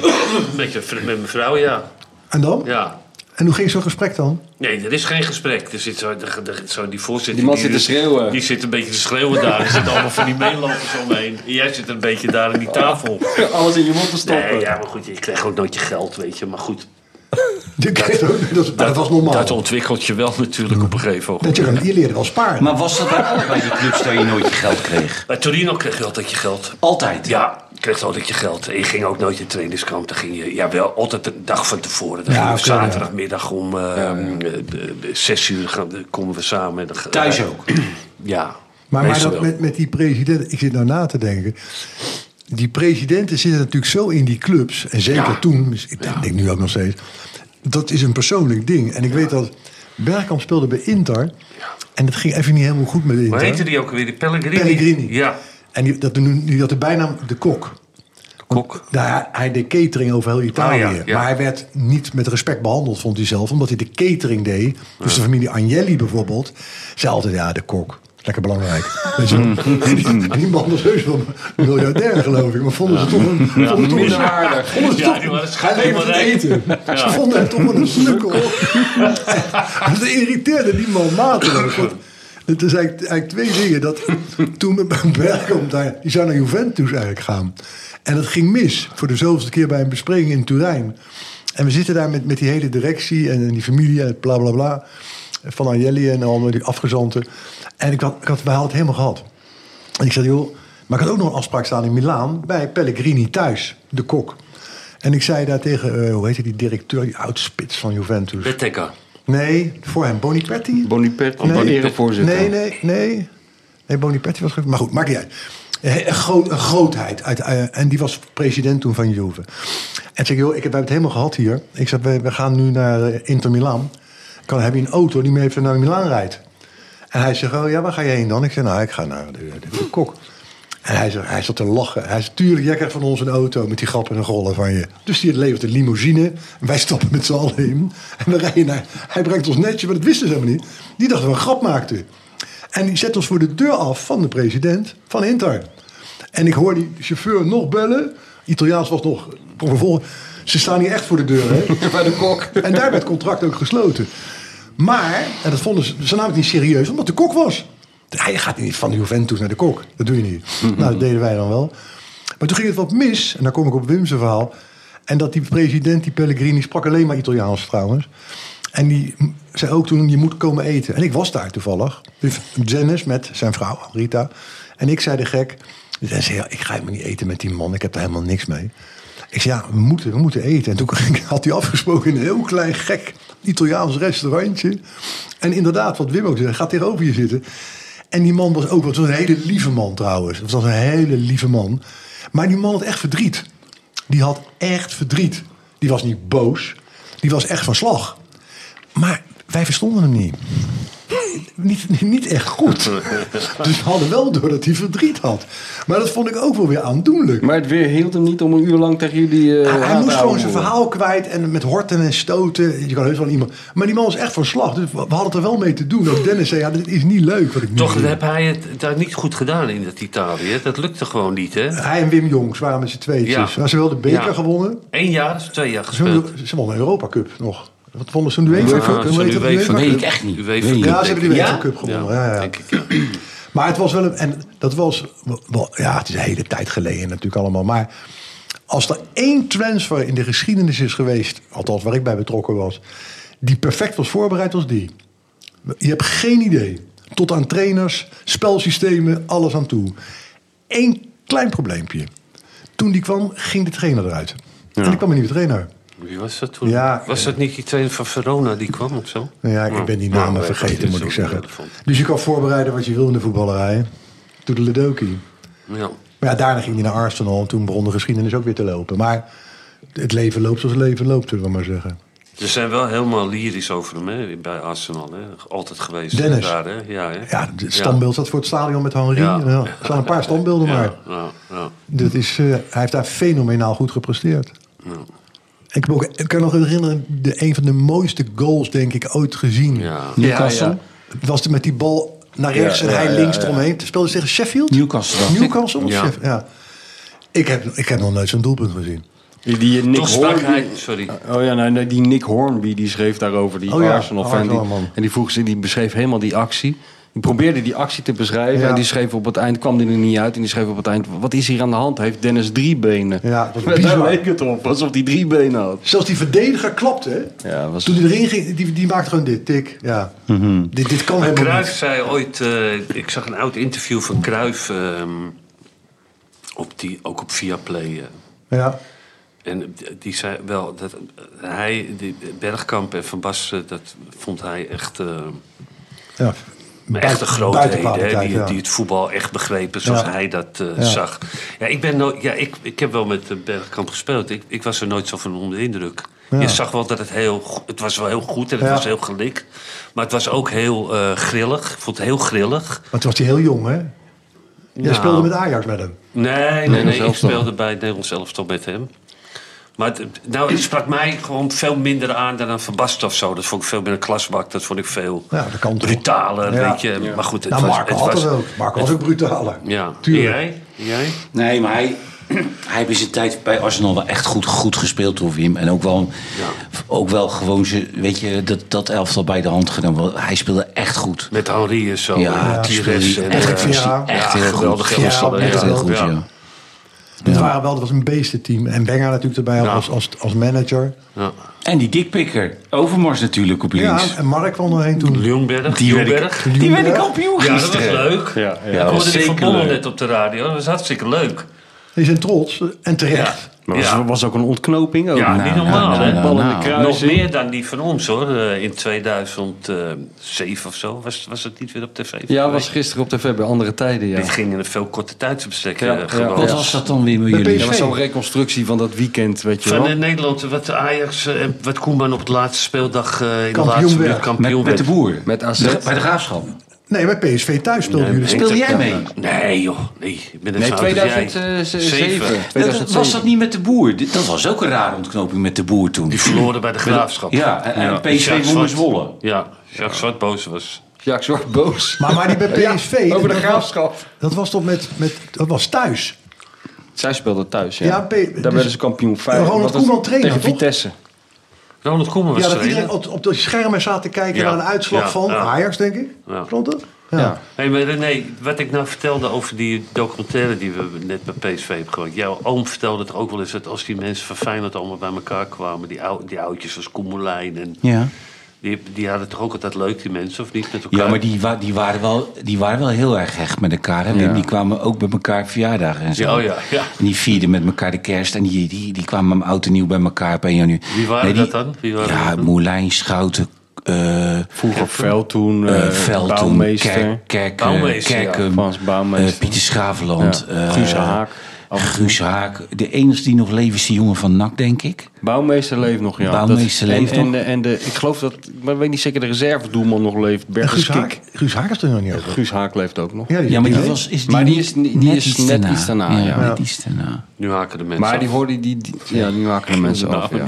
Speaker 3: Met, je, vr- met mijn vrouw, ja.
Speaker 4: en dan?
Speaker 3: ja.
Speaker 4: En hoe ging zo'n gesprek dan?
Speaker 3: Nee, er is geen gesprek. Er zit zo, de- de- zo die voorzitter...
Speaker 2: Die man zit te schreeuwen.
Speaker 3: Die zit een beetje te schreeuwen daar. Er zitten allemaal van die meelopers omheen. En jij zit een beetje daar aan die
Speaker 4: Oh,
Speaker 3: tafel.
Speaker 2: Alles in je mond te stoppen.
Speaker 3: Nee, ja, maar goed, je kreeg ook nooit je geld, weet je. Maar goed,
Speaker 4: Je kreeg ook- Dat, dat, was normaal.
Speaker 3: dat
Speaker 4: Dat,
Speaker 3: ontwikkelt je wel natuurlijk op een gegeven moment.
Speaker 4: je, dan- je leerde wel sparen.
Speaker 5: Maar was dat bij allebei die clubs dat je nooit je geld kreeg?
Speaker 3: Bij Torino kreeg je altijd je geld.
Speaker 5: Altijd?
Speaker 3: Ja, je kreeg altijd je geld. En je ging ook nooit in trainingskamp. Dan ging je, ja, wel altijd een dag van tevoren. Dan
Speaker 4: Ja,
Speaker 3: gingen we
Speaker 4: oké, ja.
Speaker 3: zaterdagmiddag om eh, eh, eh, zes uur gaan, dan komen we samen. En dan-
Speaker 5: Thuis ook?
Speaker 3: Ja.
Speaker 4: Maar, maar
Speaker 3: meestal
Speaker 4: dat,
Speaker 3: wel.
Speaker 4: met, met die president, ik zit nou na te denken. Die presidenten zitten natuurlijk zo in die clubs. En zeker
Speaker 3: Ja.
Speaker 4: toen, dus ik denk, denk nu ook nog steeds. Dat is een persoonlijk ding. En ik weet dat Bergkamp speelde bij Inter. En dat ging even niet helemaal goed met
Speaker 3: Hoe
Speaker 4: Inter.
Speaker 3: heette die ook weer? Die Pellegrini?
Speaker 4: Pellegrini.
Speaker 3: Ja.
Speaker 4: En die, dat, die had de bijnaam de kok.
Speaker 3: Kok.
Speaker 4: Nou, hij, hij deed catering over heel Italië.
Speaker 3: Ah, ja, ja.
Speaker 4: Maar hij werd niet met respect behandeld, vond hij zelf. Omdat hij de catering deed. Dus de familie Agnelli bijvoorbeeld. Zei altijd, ja, de kok. Lekker belangrijk. Weet je wel? Die- Die man was heus wel een miljardair, geloof ik. Maar vonden ze toch een... Vonden ze toch een
Speaker 2: minderwaardig.
Speaker 4: Vonden ze
Speaker 3: Ja,
Speaker 4: toch
Speaker 3: die
Speaker 4: een-
Speaker 3: waren
Speaker 4: Hij
Speaker 3: schijnbaar
Speaker 4: levert het eten. Ze vonden hem toch wel een slukkel. Dat irriteerde die man mateloos. want Het is eigenlijk, eigenlijk twee dingen. Dat, toen met Bergkamp daar, die zou naar Juventus eigenlijk gaan. En dat ging mis voor de zoveelste keer bij een bespreking in Turijn. En we zitten daar met, met die hele directie en, en die familie en bla bla bla. Van Anjeli en al die afgezanten. En ik had, ik had, wij hadden het helemaal gehad. En ik zei, joh, maar ik had ook nog een afspraak staan in Milaan bij Pellegrini thuis, de kok. En ik zei daar tegen, eh, hoe heet die directeur, die oudspits van Juventus?
Speaker 3: Betteka.
Speaker 4: Nee, voor hem. Bonipetti?
Speaker 2: Bonipetti,
Speaker 4: Nee.
Speaker 2: erevoorzitter.
Speaker 4: Nee, nee, nee. Nee, Bonipetti was... ge- Maar goed, maakt niet uit. Eh, Een, groot, een grootheid. Uit, eh, en die was president toen van Juve. En zeg, joh, ik heb, we hebben het helemaal gehad hier. Ik zeg, we, we gaan nu naar eh, Inter Milaan. Kan, heb je een auto die me even naar Milaan rijdt? En hij zegt, oh ja, waar ga je heen dan? Ik zeg, nou, ik ga naar de, de, de kok. En hij, zegt, hij zat te lachen. Hij zegt, tuurlijk, jij krijgt van ons een auto met die grappen en rollen van je. Dus die levert een limousine. En wij stappen met z'n allen in. En we rijden naar... Hij brengt ons netje, maar dat wisten ze helemaal niet. Die dachten we een grap maakten. En die zet ons voor de deur af van de president van Inter. En ik hoor die chauffeur nog bellen. Italiaans was nog... vervolgens. Ze staan hier echt voor de deur, hè? Bij de kok. En daar werd het contract ook gesloten. Maar, en dat vonden ze, ze namen het niet serieus, omdat de kok was. Hij gaat niet van de Juventus naar de kok. Dat doe je niet. Nou, dat deden wij dan wel. Maar toen ging het wat mis. En dan kom ik op Wim's verhaal. En dat die president, die Pellegrini, sprak alleen maar Italiaans trouwens. En die m- zei ook toen, je moet komen eten. En ik was daar toevallig. Dus Dennis met zijn vrouw, Rita. En ik zei de gek. En zei, ja, ik ga helemaal niet eten met die man. Ik heb daar helemaal niks mee. Ik zei, ja, we moeten, we moeten eten. En toen had hij afgesproken in een heel klein, gek Italiaans restaurantje. En inderdaad, wat Wim ook zei, gaat tegenover je zitten. En die man was ook, het was een hele lieve man trouwens. Het was een hele lieve man. Maar die man had echt verdriet. Die had echt verdriet. Die was niet boos. Die was echt van slag. Maar wij verstonden hem niet. Niet, niet echt goed. Dus we hadden wel door dat hij verdriet had. Maar dat vond ik ook wel weer aandoenlijk.
Speaker 2: Maar het weer hield hem niet om een uur lang tegen jullie. eh
Speaker 4: Hij- hij
Speaker 2: aan te
Speaker 4: moest gewoon
Speaker 2: houden.
Speaker 4: zijn verhaal kwijt en met horten en stoten. Je kan heus wel iemand. Maar die man was echt van slag. Dus we we hadden het er wel mee te doen. Ook Dennis zei: ja, dit is niet leuk. Wat ik nu
Speaker 3: Toch
Speaker 4: doe.
Speaker 3: heb hij het daar niet goed gedaan in dat Italië. Dat lukte gewoon niet, hè?
Speaker 4: Hij en Wim Jongs waren met z'n tweetjes.
Speaker 3: Ja.
Speaker 4: Ja. Ze wel de beker
Speaker 3: Ja.
Speaker 4: gewonnen.
Speaker 3: Eén jaar of twee jaar
Speaker 4: Ze wonnen-
Speaker 3: gespeeld.
Speaker 4: Ze wonnen de Europa Cup nog. Wat vonden ze toen de UEFA
Speaker 3: Ah,
Speaker 4: Cup? Hoe
Speaker 3: ze
Speaker 4: heet dat, de
Speaker 3: UEFA
Speaker 5: weet
Speaker 4: Cup?
Speaker 5: ik echt niet.
Speaker 3: UEFA
Speaker 5: Weet ik
Speaker 3: Cup,
Speaker 5: niet.
Speaker 4: Ja, ze hebben de
Speaker 5: Ja?
Speaker 4: UEFA Cup gewonnen. Ja, ja.
Speaker 3: denk ik, ja.
Speaker 4: Maar het was wel een. En dat was. Wel, ja, het is een hele tijd geleden natuurlijk allemaal. Maar als er één transfer in de geschiedenis is geweest. Althans, waar ik bij betrokken was. Die perfect was voorbereid, was die. Je hebt geen idee. Tot aan trainers, spelsystemen, alles aan toe. Eén klein probleempje. Toen die kwam, ging de trainer eruit. En die kwam een nieuwe trainer.
Speaker 3: Wie was dat toen?
Speaker 4: Ja,
Speaker 3: was
Speaker 4: eh,
Speaker 3: dat niet die trainer van Verona die kwam of zo?
Speaker 4: Nou Ja, ik ben die namen
Speaker 3: nou, dat
Speaker 4: vergeten,
Speaker 3: is
Speaker 4: moet ik
Speaker 3: ook
Speaker 4: zeggen.
Speaker 3: relevant.
Speaker 4: Dus je kan voorbereiden wat je wil in de voetballerij. Toedeledokie.
Speaker 3: Ja.
Speaker 4: Maar ja, daarna ging hij naar Arsenal. En toen begon de geschiedenis ook weer te lopen. Maar het leven loopt zoals het leven loopt, zullen we maar zeggen.
Speaker 3: Ze zijn wel helemaal lyrisch over hem hè, bij Arsenal. Hè. Altijd geweest.
Speaker 4: Dennis.
Speaker 3: Daar, hè. Ja, hè.
Speaker 4: Ja, het standbeeld staat voor het stadion met Henri.
Speaker 3: Ja.
Speaker 4: Ja, Er staan een paar standbeelden maar.
Speaker 3: Ja, ja, ja.
Speaker 4: Dat is, eh, hij heeft daar fenomenaal goed gepresteerd. Ik, heb ook, ik kan nog herinneren, de, een van de mooiste goals, denk ik, ooit gezien.
Speaker 3: Ja.
Speaker 2: Newcastle?
Speaker 4: Ja, ja. Het was met die bal naar rechts
Speaker 2: Ja,
Speaker 4: en
Speaker 2: ja,
Speaker 4: hij
Speaker 2: ja,
Speaker 4: links
Speaker 2: ja.
Speaker 4: eromheen. Toen speelde ze tegen Sheffield?
Speaker 5: Newcastle, dacht ik.
Speaker 4: Newcastle? of
Speaker 3: Ja.
Speaker 4: Sheffield? ja. Ik, heb, ik heb nog nooit zo'n doelpunt gezien.
Speaker 2: Die, die Nick
Speaker 3: Toch sprak
Speaker 2: Hornby-
Speaker 3: hij, sorry.
Speaker 2: Oh ja, nou, nee, die Nick Hornby die schreef daarover, die
Speaker 4: Oh ja,
Speaker 2: Arsenal-fan. die-
Speaker 4: Arsenal-man.
Speaker 2: en die vroeg ze, die beschreef helemaal die actie. Die probeerde die actie te beschrijven
Speaker 4: Ja.
Speaker 2: en die schreef op het eind, kwam die er niet uit. En die schreef op het eind, wat is hier aan de hand? Heeft Dennis drie benen?
Speaker 4: Ja, dat was
Speaker 2: Daar
Speaker 4: bizar.
Speaker 2: leek het op, alsof hij drie benen had.
Speaker 4: Zelfs die verdediger klapte. hè?
Speaker 2: Ja, was...
Speaker 4: Toen hij erin ging, die, die maakte gewoon dit, tik. Ja.
Speaker 3: Mhm.
Speaker 4: dit, dit kan helemaal
Speaker 3: Cruijff
Speaker 4: niet.
Speaker 3: zei ooit, eh, ik zag een oud interview van Cruijff, ehm, op die, ook op Viaplay. eh.
Speaker 4: Ja.
Speaker 3: en die zei wel dat hij, die Bergkamp en Van Basten, dat vond hij echt, eh,
Speaker 4: Ja.
Speaker 3: echt een
Speaker 4: Buiten-
Speaker 3: grootheden. Hè,
Speaker 4: buitenkwaliteit,
Speaker 3: die,
Speaker 4: ja.
Speaker 3: die het voetbal echt begrepen zoals
Speaker 4: Ja.
Speaker 3: hij dat eh,
Speaker 4: Ja.
Speaker 3: zag. Ja, ik, ben nooit, ja ik, ik heb wel met eh, Bergkamp gespeeld. Ik, ik was er nooit zo van onder de indruk.
Speaker 4: Ja.
Speaker 3: Je zag wel dat het heel, go- het was wel heel goed en het
Speaker 4: Ja.
Speaker 3: was heel gelikt. Maar het was ook heel eh, grillig. Ik vond het heel grillig.
Speaker 4: Maar toen was hij heel jong, hè? Jij
Speaker 3: Nou.
Speaker 4: speelde met Ajax met hem.
Speaker 3: Nee, nee,
Speaker 2: Nederlands
Speaker 3: nee. Ik
Speaker 2: elftal.
Speaker 3: speelde bij het Nederlands elftal met hem. Maar het, nou, het sprak mij gewoon veel minder aan dan aan Van Basten of zo. Dat vond ik veel meer een klasbak. Dat vond ik veel
Speaker 4: Ja, dat kan toch.
Speaker 3: brutaler,
Speaker 4: Ja.
Speaker 3: weet je. Maar goed, het
Speaker 4: Nou,
Speaker 3: was...
Speaker 4: Marco
Speaker 3: het
Speaker 4: had
Speaker 3: was-
Speaker 4: dat ook. Marco was ook brutaler.
Speaker 3: Ja,
Speaker 4: Tuurlijk.
Speaker 3: En jij? En jij?
Speaker 5: Nee, maar hij, hij heeft in zijn tijd bij Arsenal wel echt goed, goed gespeeld door Wim. En ook wel, ook wel gewoon, ze- weet je, dat, dat elftal bij de hand genomen. Want Hij speelde echt goed.
Speaker 3: Met Henri en zo.
Speaker 5: Ja,
Speaker 3: en
Speaker 5: dat
Speaker 3: Pires
Speaker 5: speelde hij
Speaker 3: en,
Speaker 5: echt,
Speaker 3: eh,
Speaker 5: was hij
Speaker 4: ja.
Speaker 5: echt
Speaker 3: Ja,
Speaker 5: heel goed.
Speaker 3: geweldig
Speaker 5: Ja,
Speaker 3: elftal,
Speaker 5: echt
Speaker 4: ja.
Speaker 5: heel goed, ja.
Speaker 3: Ja.
Speaker 4: Dat, waren wel, dat was een beestenteam. En Wenger natuurlijk erbij
Speaker 3: Ja.
Speaker 4: als, als, als manager.
Speaker 3: ja.
Speaker 5: En die dikpikker, Overmars natuurlijk op links.
Speaker 4: Ja, en Mark kwam erheen toen.
Speaker 3: Ljungberg,
Speaker 5: die, werd,
Speaker 3: Ljungberg.
Speaker 5: ik- die werd ik kampioen
Speaker 3: Ja, dat was
Speaker 5: gisteren.
Speaker 3: leuk.
Speaker 2: Ja, ja.
Speaker 3: ik
Speaker 5: was
Speaker 3: hoorde die
Speaker 5: zeker
Speaker 3: van Bommel
Speaker 5: leuk.
Speaker 3: net op de radio. Dat was hartstikke leuk.
Speaker 4: Die zijn trots en terecht.
Speaker 2: Maar was,
Speaker 3: Ja.
Speaker 2: was ook een ontknoping. Ook.
Speaker 3: Ja, niet normaal,
Speaker 5: nou,
Speaker 3: hè?
Speaker 5: nou,
Speaker 2: Ballen in de
Speaker 5: nou.
Speaker 2: kruising.
Speaker 3: Nog meer dan die van ons hoor. Eh, In 2007 of zo was, was het niet weer op tv.
Speaker 2: Ja, was gisteren op tv bij andere tijden. Ja.
Speaker 3: Dit ging in een veel korte tijdsbestek
Speaker 2: Ja,
Speaker 3: eh,
Speaker 2: ja.
Speaker 3: gewoon.
Speaker 5: Wat was dat dan weer met
Speaker 4: Bij
Speaker 5: jullie?
Speaker 2: Ja, maar
Speaker 4: PSV.
Speaker 2: zo'n reconstructie van dat weekend, weet je
Speaker 3: Van
Speaker 2: wel.
Speaker 3: eh, Nederland, wat Ajax, eh, wat Koeman op de laatste speeldag eh, in de
Speaker 4: Kampioen
Speaker 3: laatste
Speaker 4: werd.
Speaker 3: minuut kampioen
Speaker 5: Met, met de
Speaker 3: werd.
Speaker 5: boer.
Speaker 2: Met AZ.
Speaker 5: De- bij de graafschap.
Speaker 4: Nee, bij PSV thuis speelden jullie.
Speaker 5: Speel jij mee?
Speaker 3: Nee joh, nee. Ik ben net
Speaker 2: Nee, eh,
Speaker 3: zo oud als jij.
Speaker 2: 2007.
Speaker 3: Zeven.
Speaker 5: Dat, was dat niet met de boer? Dit- Dat was ook een rare ontknoping met de boer toen.
Speaker 3: Die verloren bij de graafschap.
Speaker 5: Ja, en- en PSV
Speaker 3: Jacques
Speaker 5: won
Speaker 3: Zwart.
Speaker 5: met Zwolle.
Speaker 3: Ja, Jacques Zwart boos was.
Speaker 2: Jack Zwart boos.
Speaker 4: Maar, maar die bij PSV.
Speaker 2: Ja, over de
Speaker 4: dat
Speaker 2: graafschap.
Speaker 4: Was, dat was toch met, met. Dat was thuis.
Speaker 2: Zij speelden thuis, ja.
Speaker 4: Ja, P-
Speaker 2: Daar
Speaker 4: dus-
Speaker 2: werden ze kampioen. Vijf,
Speaker 4: Ronald
Speaker 2: want dat-
Speaker 4: Koeman trainer,
Speaker 2: Tegen
Speaker 4: toch?
Speaker 2: Vitesse.
Speaker 3: Ronald Koeman was
Speaker 4: Ja, dat
Speaker 3: trainer.
Speaker 4: iedereen op, op de schermen zat te kijken
Speaker 3: Ja,
Speaker 4: naar een uitslag
Speaker 3: ja,
Speaker 4: van
Speaker 3: ja.
Speaker 4: Ajax, denk ik.
Speaker 3: Ja.
Speaker 4: Klopt dat?
Speaker 2: Ja.
Speaker 3: Hey, maar René, wat ik nou vertelde over die documentaire die we net bij PSV hebben gemaakt. Jouw oom vertelde het ook wel eens dat als die mensen van Feyenoord allemaal bij elkaar kwamen. Die, ou die oudjes als Koemelijn en...
Speaker 5: Ja.
Speaker 3: Die, die hadden toch ook altijd leuk, die mensen, of niet? Met elkaar?
Speaker 5: Ja, maar die, wa- die, waren wel, die waren wel heel erg hecht met elkaar. Hè? Wim? Die kwamen ook bij elkaar verjaardagen en zo.
Speaker 3: Ja, oh ja, ja.
Speaker 5: En die vierden met elkaar de kerst. En die, die, die kwamen om oud en nieuw bij elkaar op 1 januari.
Speaker 3: Wie waren
Speaker 5: die-
Speaker 3: dat dan? Wie waren dat
Speaker 5: ja,
Speaker 3: dan?
Speaker 5: Moulijn, Schouten, eh
Speaker 2: Vroeger Veld toen,
Speaker 5: eh
Speaker 2: eh
Speaker 5: Veld toen,
Speaker 2: Bouwmeester,
Speaker 5: Kerk, Kerk, eh,
Speaker 3: Bouwmeester, ja.
Speaker 5: Kerkum,
Speaker 2: Frans Bouwmeester.
Speaker 5: eh, Pieter Schaveland.
Speaker 2: Ja.
Speaker 5: eh,
Speaker 2: Guus Haak. Oh,
Speaker 5: Guus Haak. De enige die nog leeft is die jongen van NAC, denk ik.
Speaker 2: Bouwmeester leeft nog, ja.
Speaker 5: Bouwmeester
Speaker 2: Dat- en-
Speaker 5: leeft
Speaker 2: en,
Speaker 5: nog.
Speaker 2: de- En de, ik geloof dat, maar ik weet niet zeker, de reservedoelman nog leeft.
Speaker 4: En
Speaker 2: Bertus
Speaker 4: Guus
Speaker 2: Kik.
Speaker 4: Haak, Guus Haak is er nog niet over.
Speaker 2: Guus Haak leeft ook nog.
Speaker 5: Ja, maar die,
Speaker 4: weet.
Speaker 5: was, is die
Speaker 2: Maar die
Speaker 5: niet-
Speaker 2: is ni- die is net iets daarna, ja.
Speaker 5: net iets daarna.
Speaker 3: Nu haken de mensen
Speaker 2: Maar die
Speaker 3: af.
Speaker 2: hoorden die, die- ja, nu haken de mensen af, ja.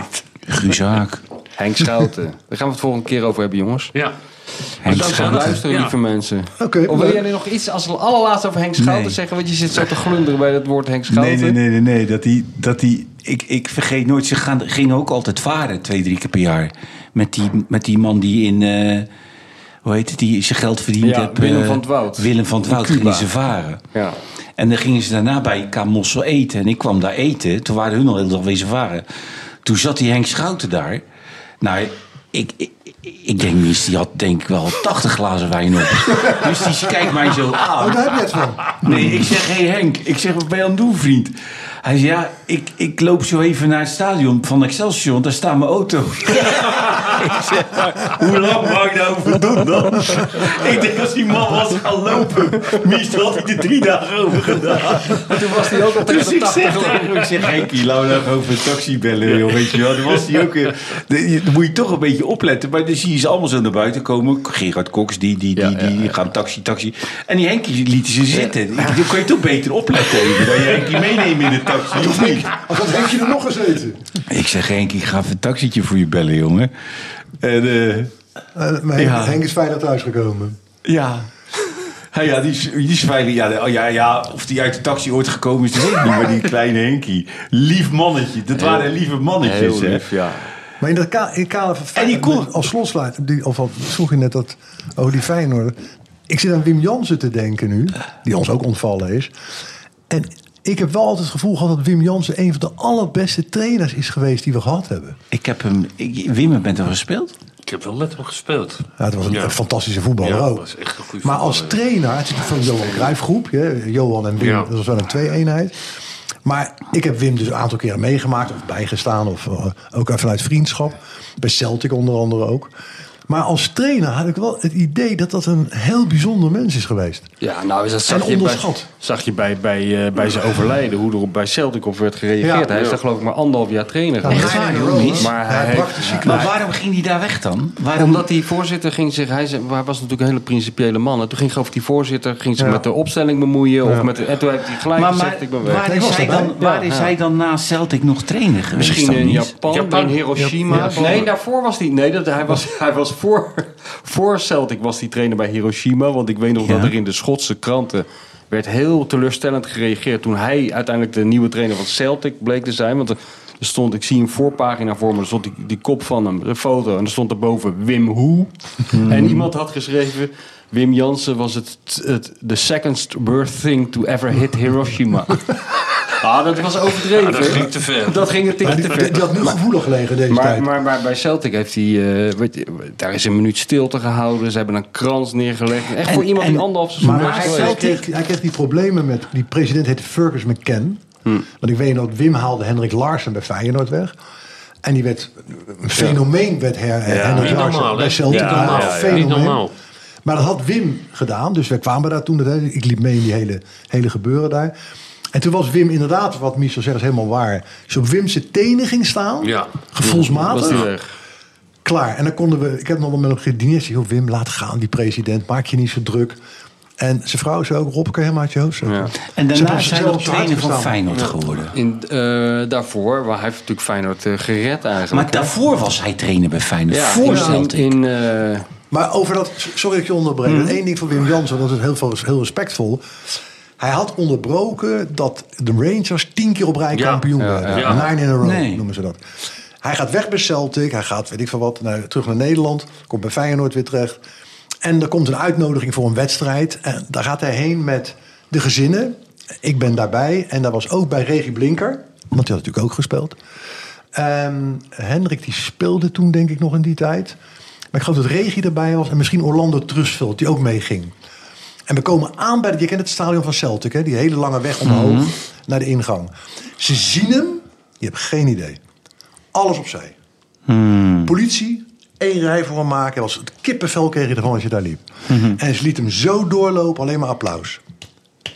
Speaker 5: Guus Haak.
Speaker 2: Henk Schouten. Daar gaan we het volgende keer over hebben, jongens.
Speaker 3: Ja.
Speaker 5: Henk
Speaker 3: zou-
Speaker 5: Schaap.
Speaker 2: Luister,
Speaker 3: Ja.
Speaker 2: lieve mensen.
Speaker 4: Oké,
Speaker 2: of wil
Speaker 4: leuk.
Speaker 2: jij nu nog iets als allerlaatste over Henk Schouten
Speaker 6: Nee.
Speaker 2: zeggen? Want je zit zo te glunderen bij dat woord Henk Schouten.
Speaker 6: Nee, nee, nee, nee, nee. Dat die, dat die,
Speaker 5: Ik, ik vergeet nooit, ze gaan, gingen ook altijd varen twee, drie keer per jaar. Met die, met die man die in, eh, hoe heet het, die zijn geld verdiend
Speaker 2: Ja,
Speaker 5: heeft,
Speaker 2: Willem
Speaker 5: eh,
Speaker 2: van het Woud.
Speaker 5: Willem van het
Speaker 2: In
Speaker 5: Woud
Speaker 2: Cuba.
Speaker 5: gingen ze varen.
Speaker 2: Ja.
Speaker 5: En dan gingen ze daarna bij Kamossel eten. En ik kwam daar eten. Toen waren hun al heel dag wezen varen. Toen zat die Henk Schouten daar. Nou, ik, ik, ik denk niet, die had denk ik wel 80 glazen wijn op. dus die kijkt mij zo aan.
Speaker 4: Oh, daar heb je het van.
Speaker 5: Nee, ik zeg, hé hey Henk, ik zeg, wat ben je aan het doen, vriend? Hij zei, ja, ik, ik loop zo even naar het stadion van Excelsior, want daar staat mijn auto. ik zeg, maar, hoe lang mag ik daarover doen dan? ik denk, als die man was gaan lopen, meestal had hij er drie dagen over gedaan.
Speaker 2: Toen was hij ook al tegen
Speaker 5: Dus
Speaker 2: de
Speaker 5: ik zeg
Speaker 2: 80
Speaker 5: tegen hem, ik zeg, Henkie,
Speaker 6: die Laura gewoon voor een taxi bellen, joh, weet je wel. Dan was die ook... eh, de- je- Dan moet je toch een beetje opletten. Maar dan zie je ze allemaal zo naar buiten komen. Gerard Cox, die, die, die,
Speaker 2: Ja, ja,
Speaker 6: die gaan taxi, taxi. En die Henkie liet ze zitten. Dan kun je toch beter opletten even. Dan je Henkie meenemen in de taxi. of niet?
Speaker 4: Als dat Henk je er nog gezeten.
Speaker 5: ik zeg, Henk, ik ga even een taxietje voor je bellen, jongen.
Speaker 6: En eh,
Speaker 4: Eh, maar Henk,
Speaker 6: Ja.
Speaker 4: Henk is veilig thuisgekomen.
Speaker 6: ja... Ja, ja, die, is- die is veilig. Ja, de- oh, ja, ja, of die uit de taxi ooit gekomen is, dat weet ik niet. Maar die kleine Henkie. Lief mannetje. Dat waren lieve mannetjes,
Speaker 2: Heel
Speaker 6: hè.
Speaker 2: lief, ja.
Speaker 4: Maar in dat ka in het kader van
Speaker 6: En die kon-
Speaker 4: als slotsluiter, die, of al vroeg je net dat over die Feyenoord. Ik zit aan Wim Jansen te denken nu, die ons ook ontvallen is. En ik heb wel altijd het gevoel gehad dat Wim Jansen een van de allerbeste trainers is geweest die we gehad hebben.
Speaker 5: Ik heb hem, ik, Wim, bent er gespeeld?
Speaker 3: Ik heb wel met hem gespeeld.
Speaker 4: Ja, het was een,
Speaker 3: Ja.
Speaker 4: een fantastische voetballer
Speaker 3: Ja,
Speaker 4: ook.
Speaker 3: was echt een goede
Speaker 4: maar als
Speaker 3: voetballer,
Speaker 4: trainer, het is van Johan Cruijffgroep. hè, Johan en Wim,
Speaker 3: Ja.
Speaker 4: dat was wel een twee-eenheid. Maar ik heb Wim dus een aantal keren meegemaakt of bijgestaan. Of eh, ook vanuit vriendschap. Bij Celtic onder andere ook. Maar als trainer had ik wel het idee dat dat een heel bijzonder mens is geweest.
Speaker 2: Ja, nou is dat zag
Speaker 4: En
Speaker 2: je bij,
Speaker 4: onderschat.
Speaker 2: zag je bij, bij, eh, bij zijn overlijden hoe er op- bij Celtic op werd gereageerd.
Speaker 4: Ja.
Speaker 2: hij is daar geloof ik maar anderhalf jaar trainer
Speaker 4: Nou,
Speaker 2: geweest.
Speaker 4: nine
Speaker 5: waar,
Speaker 4: in a
Speaker 5: joh,
Speaker 4: row,
Speaker 5: mis.
Speaker 4: hè?
Speaker 2: Maar hij heeft-
Speaker 4: brak de cyclus.
Speaker 5: Maar waarom ging die daar weg dan?
Speaker 2: En
Speaker 5: Waarom
Speaker 2: Omdat die voorzitter ging zich, hij, zei- hij was natuurlijk een hele principiële man. En toen ging geloof ik die voorzitter ging zich
Speaker 4: Ja.
Speaker 2: met de opstelling bemoeien. Of met de, en toen heeft hij gelijk gezegd, ik ben weg.
Speaker 5: waar,
Speaker 4: Nee,
Speaker 5: is
Speaker 4: was
Speaker 5: hij
Speaker 4: erbij.
Speaker 5: dan, waar is hij dan na Celtic nog trainer geweest?
Speaker 2: Misschien eh,
Speaker 5: dan
Speaker 2: in
Speaker 5: niet?
Speaker 2: Japan,
Speaker 3: Japan.
Speaker 2: bij een Hiroshima.
Speaker 5: Japan.
Speaker 2: Nee, daarvoor was hij. Nee, dat, hij was, hij was voor, voor Celtic was hij trainer bij Hiroshima. Want ik weet nog
Speaker 5: Ja.
Speaker 2: dat er in de Schotse kranten werd heel teleurstellend gereageerd toen hij uiteindelijk de nieuwe trainer van Celtic bleek te zijn. Want er er stond, ik zie een voorpagina voor me, er stond die, die kop van hem, de foto, en er stond daarboven Wim Hoe.
Speaker 5: Hmm.
Speaker 2: En iemand had geschreven. Wim Jansen was het, het the second worst thing to ever hit Hiroshima. ah, dat was overdreven.
Speaker 3: Ja, dat ging te ver.
Speaker 2: Dat ging het
Speaker 4: Maar
Speaker 2: te
Speaker 4: die,
Speaker 2: ver.
Speaker 4: die, die had nu gevoelig gelegen deze tijd.
Speaker 2: Maar, maar, maar bij Celtic heeft hij. eh, weet je, daar is een minuut stilte gehouden. Ze hebben een krans neergelegd. Echt
Speaker 5: En-
Speaker 2: voor iemand
Speaker 5: en-
Speaker 2: die anderhalf seizoen
Speaker 4: Maar
Speaker 2: was
Speaker 4: hij,
Speaker 2: geweest.
Speaker 4: kreeg, hij kreeg die problemen met... Die president heette Fergus McCann.
Speaker 3: Hm.
Speaker 4: Want ik weet dat Wim haalde Hendrik Larsen bij Feyenoord weg. En die werd een fenomeen werd her, Hendrik
Speaker 3: Niet
Speaker 4: Larsen
Speaker 3: normaal, hè?
Speaker 4: bij Celtic.
Speaker 3: Ja,
Speaker 4: Ja,
Speaker 3: normaal,
Speaker 4: een
Speaker 3: ja, ja.
Speaker 4: fenomeen.
Speaker 3: Niet normaal.
Speaker 4: Maar dat had Wim gedaan. Dus wij kwamen daar toen. hè. Ik liep mee in die hele, hele gebeuren daar. En toen was Wim inderdaad, wat Michel zegt, is helemaal waar. Dus op Wim zijn tenen ging staan.
Speaker 3: Ja. eh,
Speaker 4: Gevoelsmatig
Speaker 2: Was die weg?
Speaker 4: klaar. En dan konden we, ik heb nog wel met hem gedineerd. Ik zei, joh, Wim, laat gaan, die president. Maak je niet zo druk. En zijn vrouw zei ook, Rob, kan je hem uit je hoofd zetten?
Speaker 2: Ja.
Speaker 5: En
Speaker 4: Ze
Speaker 5: daarna
Speaker 4: hebben
Speaker 5: zijn we
Speaker 4: zelf
Speaker 5: ook
Speaker 4: op zijn hart
Speaker 5: trainer van
Speaker 4: gestaan.
Speaker 5: Feyenoord geworden.
Speaker 2: In, eh, daarvoor, waar hij heeft natuurlijk Feyenoord eh, gered eigenlijk.
Speaker 5: Maar
Speaker 2: hè?
Speaker 5: daarvoor was hij trainer bij Feyenoord.
Speaker 2: ja,
Speaker 5: voor
Speaker 2: in,
Speaker 5: Celtic.
Speaker 2: in, in, eh,
Speaker 4: Maar over dat, sorry dat ik je onderbreek.
Speaker 5: Mhm.
Speaker 4: dat één ding van Wim Jansen, dat is heel, veel- heel respectvol. Hij had onderbroken dat de Rangers tien keer op rij
Speaker 3: Ja.
Speaker 4: kampioen
Speaker 3: Ja,
Speaker 4: werden.
Speaker 3: ja.
Speaker 4: Nine in a row
Speaker 5: Nee.
Speaker 4: noemen ze dat. Hij gaat weg bij Celtic. Hij gaat, weet ik veel wat, naar, terug naar Nederland. Komt bij Feyenoord weer terecht. En er komt een uitnodiging voor een wedstrijd. En daar gaat hij heen met de gezinnen. Ik ben daarbij. En daar was ook bij Regie Blinker. Want die had natuurlijk ook gespeeld. Ehm, Hendrik die speelde toen denk ik nog in die tijd. Maar ik geloof dat Regie erbij was. En misschien Orlando Trusveld die ook meeging. En we komen aan bij, de, je kent het stadion van Celtic, hè? die hele lange weg omhoog
Speaker 5: Mhm.
Speaker 4: naar de ingang. Ze zien hem, je hebt geen idee. Alles opzij.
Speaker 5: Hmm.
Speaker 4: Politie, één rij voor hem maken. Was het kippenvel kreeg je ervan als je daar liep.
Speaker 5: Mhm.
Speaker 4: En ze liet hem zo doorlopen, alleen maar applaus.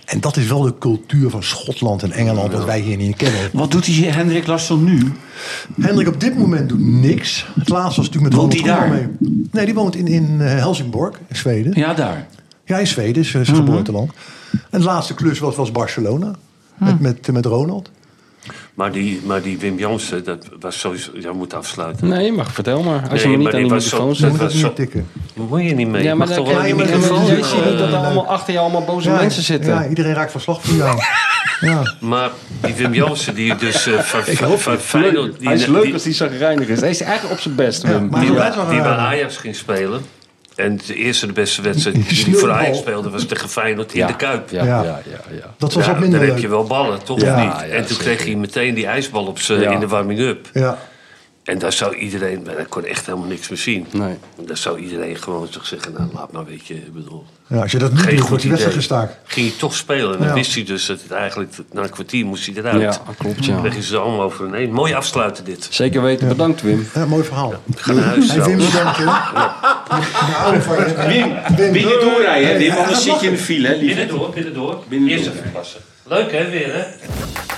Speaker 4: En dat is wel de cultuur van Schotland en Engeland, wat wij hier niet kennen.
Speaker 5: Wat doet die Hendrik Larsson nu?
Speaker 4: Hendrik op dit moment doet niks. Het laatste was natuurlijk met
Speaker 5: Woont
Speaker 4: Ronald
Speaker 5: hij
Speaker 4: Koeman mee. Nee, die woont in, in eh, Helsingborg, in Zweden.
Speaker 5: Ja, daar.
Speaker 4: Ja, in Zweden, is zijn geboorteland. En de laatste klus was, was Barcelona. Met, met, met Ronald.
Speaker 3: Maar die, maar die Wim Jansen, dat was sowieso... Jij moet afsluiten.
Speaker 2: nee, maar vertel maar. Als
Speaker 3: Nee,
Speaker 2: je me niet aan
Speaker 3: maar dit
Speaker 2: die
Speaker 3: was
Speaker 2: microfoon
Speaker 3: zo- Dat
Speaker 4: Ze
Speaker 2: zet.
Speaker 4: moet het
Speaker 3: was zo-
Speaker 4: niet tikken.
Speaker 3: Daar hoor je niet mee.
Speaker 2: Ja, maar
Speaker 3: Mag
Speaker 2: dan
Speaker 3: toch wel
Speaker 2: kan
Speaker 3: aan
Speaker 2: je
Speaker 3: die
Speaker 4: maar
Speaker 2: niet-
Speaker 3: microfoon
Speaker 2: dan
Speaker 4: microfoon
Speaker 2: zie je niet dat er allemaal achter je allemaal boze mensen zitten.
Speaker 4: Ja, iedereen raakt van slag van jou. ja.
Speaker 3: Maar die Wim Jansen, die dus eh, van, van, van Feyenoord... Die,
Speaker 2: hij is leuk
Speaker 3: die-
Speaker 2: als hij zagrijnig is. Hij is eigenlijk op zijn best. Wim.
Speaker 4: maar-
Speaker 3: die,
Speaker 4: Hij is
Speaker 3: bij-
Speaker 4: best wel
Speaker 3: die bij
Speaker 4: raar.
Speaker 3: Ajax ging spelen. En de eerste de beste wedstrijd die hij
Speaker 4: sneeuwbal.
Speaker 3: voor Ajax speelde... was tegen Feyenoord in de Kuip.
Speaker 2: Ja, ja,
Speaker 4: Ja.
Speaker 2: ja, ja.
Speaker 4: Dat was
Speaker 3: Ja,
Speaker 4: wat minder
Speaker 3: dan
Speaker 4: leuk.
Speaker 3: heb je wel ballen, toch
Speaker 4: Ja,
Speaker 3: of niet?
Speaker 2: ja,
Speaker 3: en toen
Speaker 2: zeker.
Speaker 3: kreeg hij meteen die ijsbal op ze
Speaker 2: Ja.
Speaker 3: in de warming-up.
Speaker 4: Ja.
Speaker 3: En daar zou iedereen, daar kon echt helemaal niks meer zien.
Speaker 2: Nee.
Speaker 3: En daar zou iedereen gewoon toch zeggen, nou laat maar, weet je, ik bedoel.
Speaker 4: ja, als je dat niet
Speaker 3: Geen
Speaker 4: doet,
Speaker 3: goed
Speaker 4: wordt die
Speaker 3: idee.
Speaker 4: wedstrijd gestaakt.
Speaker 3: Ging hij toch spelen. En dan
Speaker 4: Ja.
Speaker 3: wist hij dus dat het eigenlijk, na een kwartier moest hij eruit.
Speaker 2: Ja, klopt, ja.
Speaker 3: Dan gingen ze er allemaal over een heen. Mooi afsluiten dit.
Speaker 2: Zeker weten. Bedankt Wim.
Speaker 4: Ja, mooi verhaal.
Speaker 3: Ga naar huis
Speaker 4: Hey, Wim,
Speaker 3: trouwens.
Speaker 4: bedankt. hè. We houden van je. Wim,
Speaker 6: Binnen doorrijden, hè, Wim,
Speaker 4: Ja,
Speaker 6: anders
Speaker 4: dat
Speaker 6: zit
Speaker 4: mag
Speaker 6: je in de file, hè, lief.
Speaker 3: Binnen door, binnen door.
Speaker 6: Binnen
Speaker 3: Eerst
Speaker 6: door.
Speaker 3: even passen. Leuk hè, weer hè?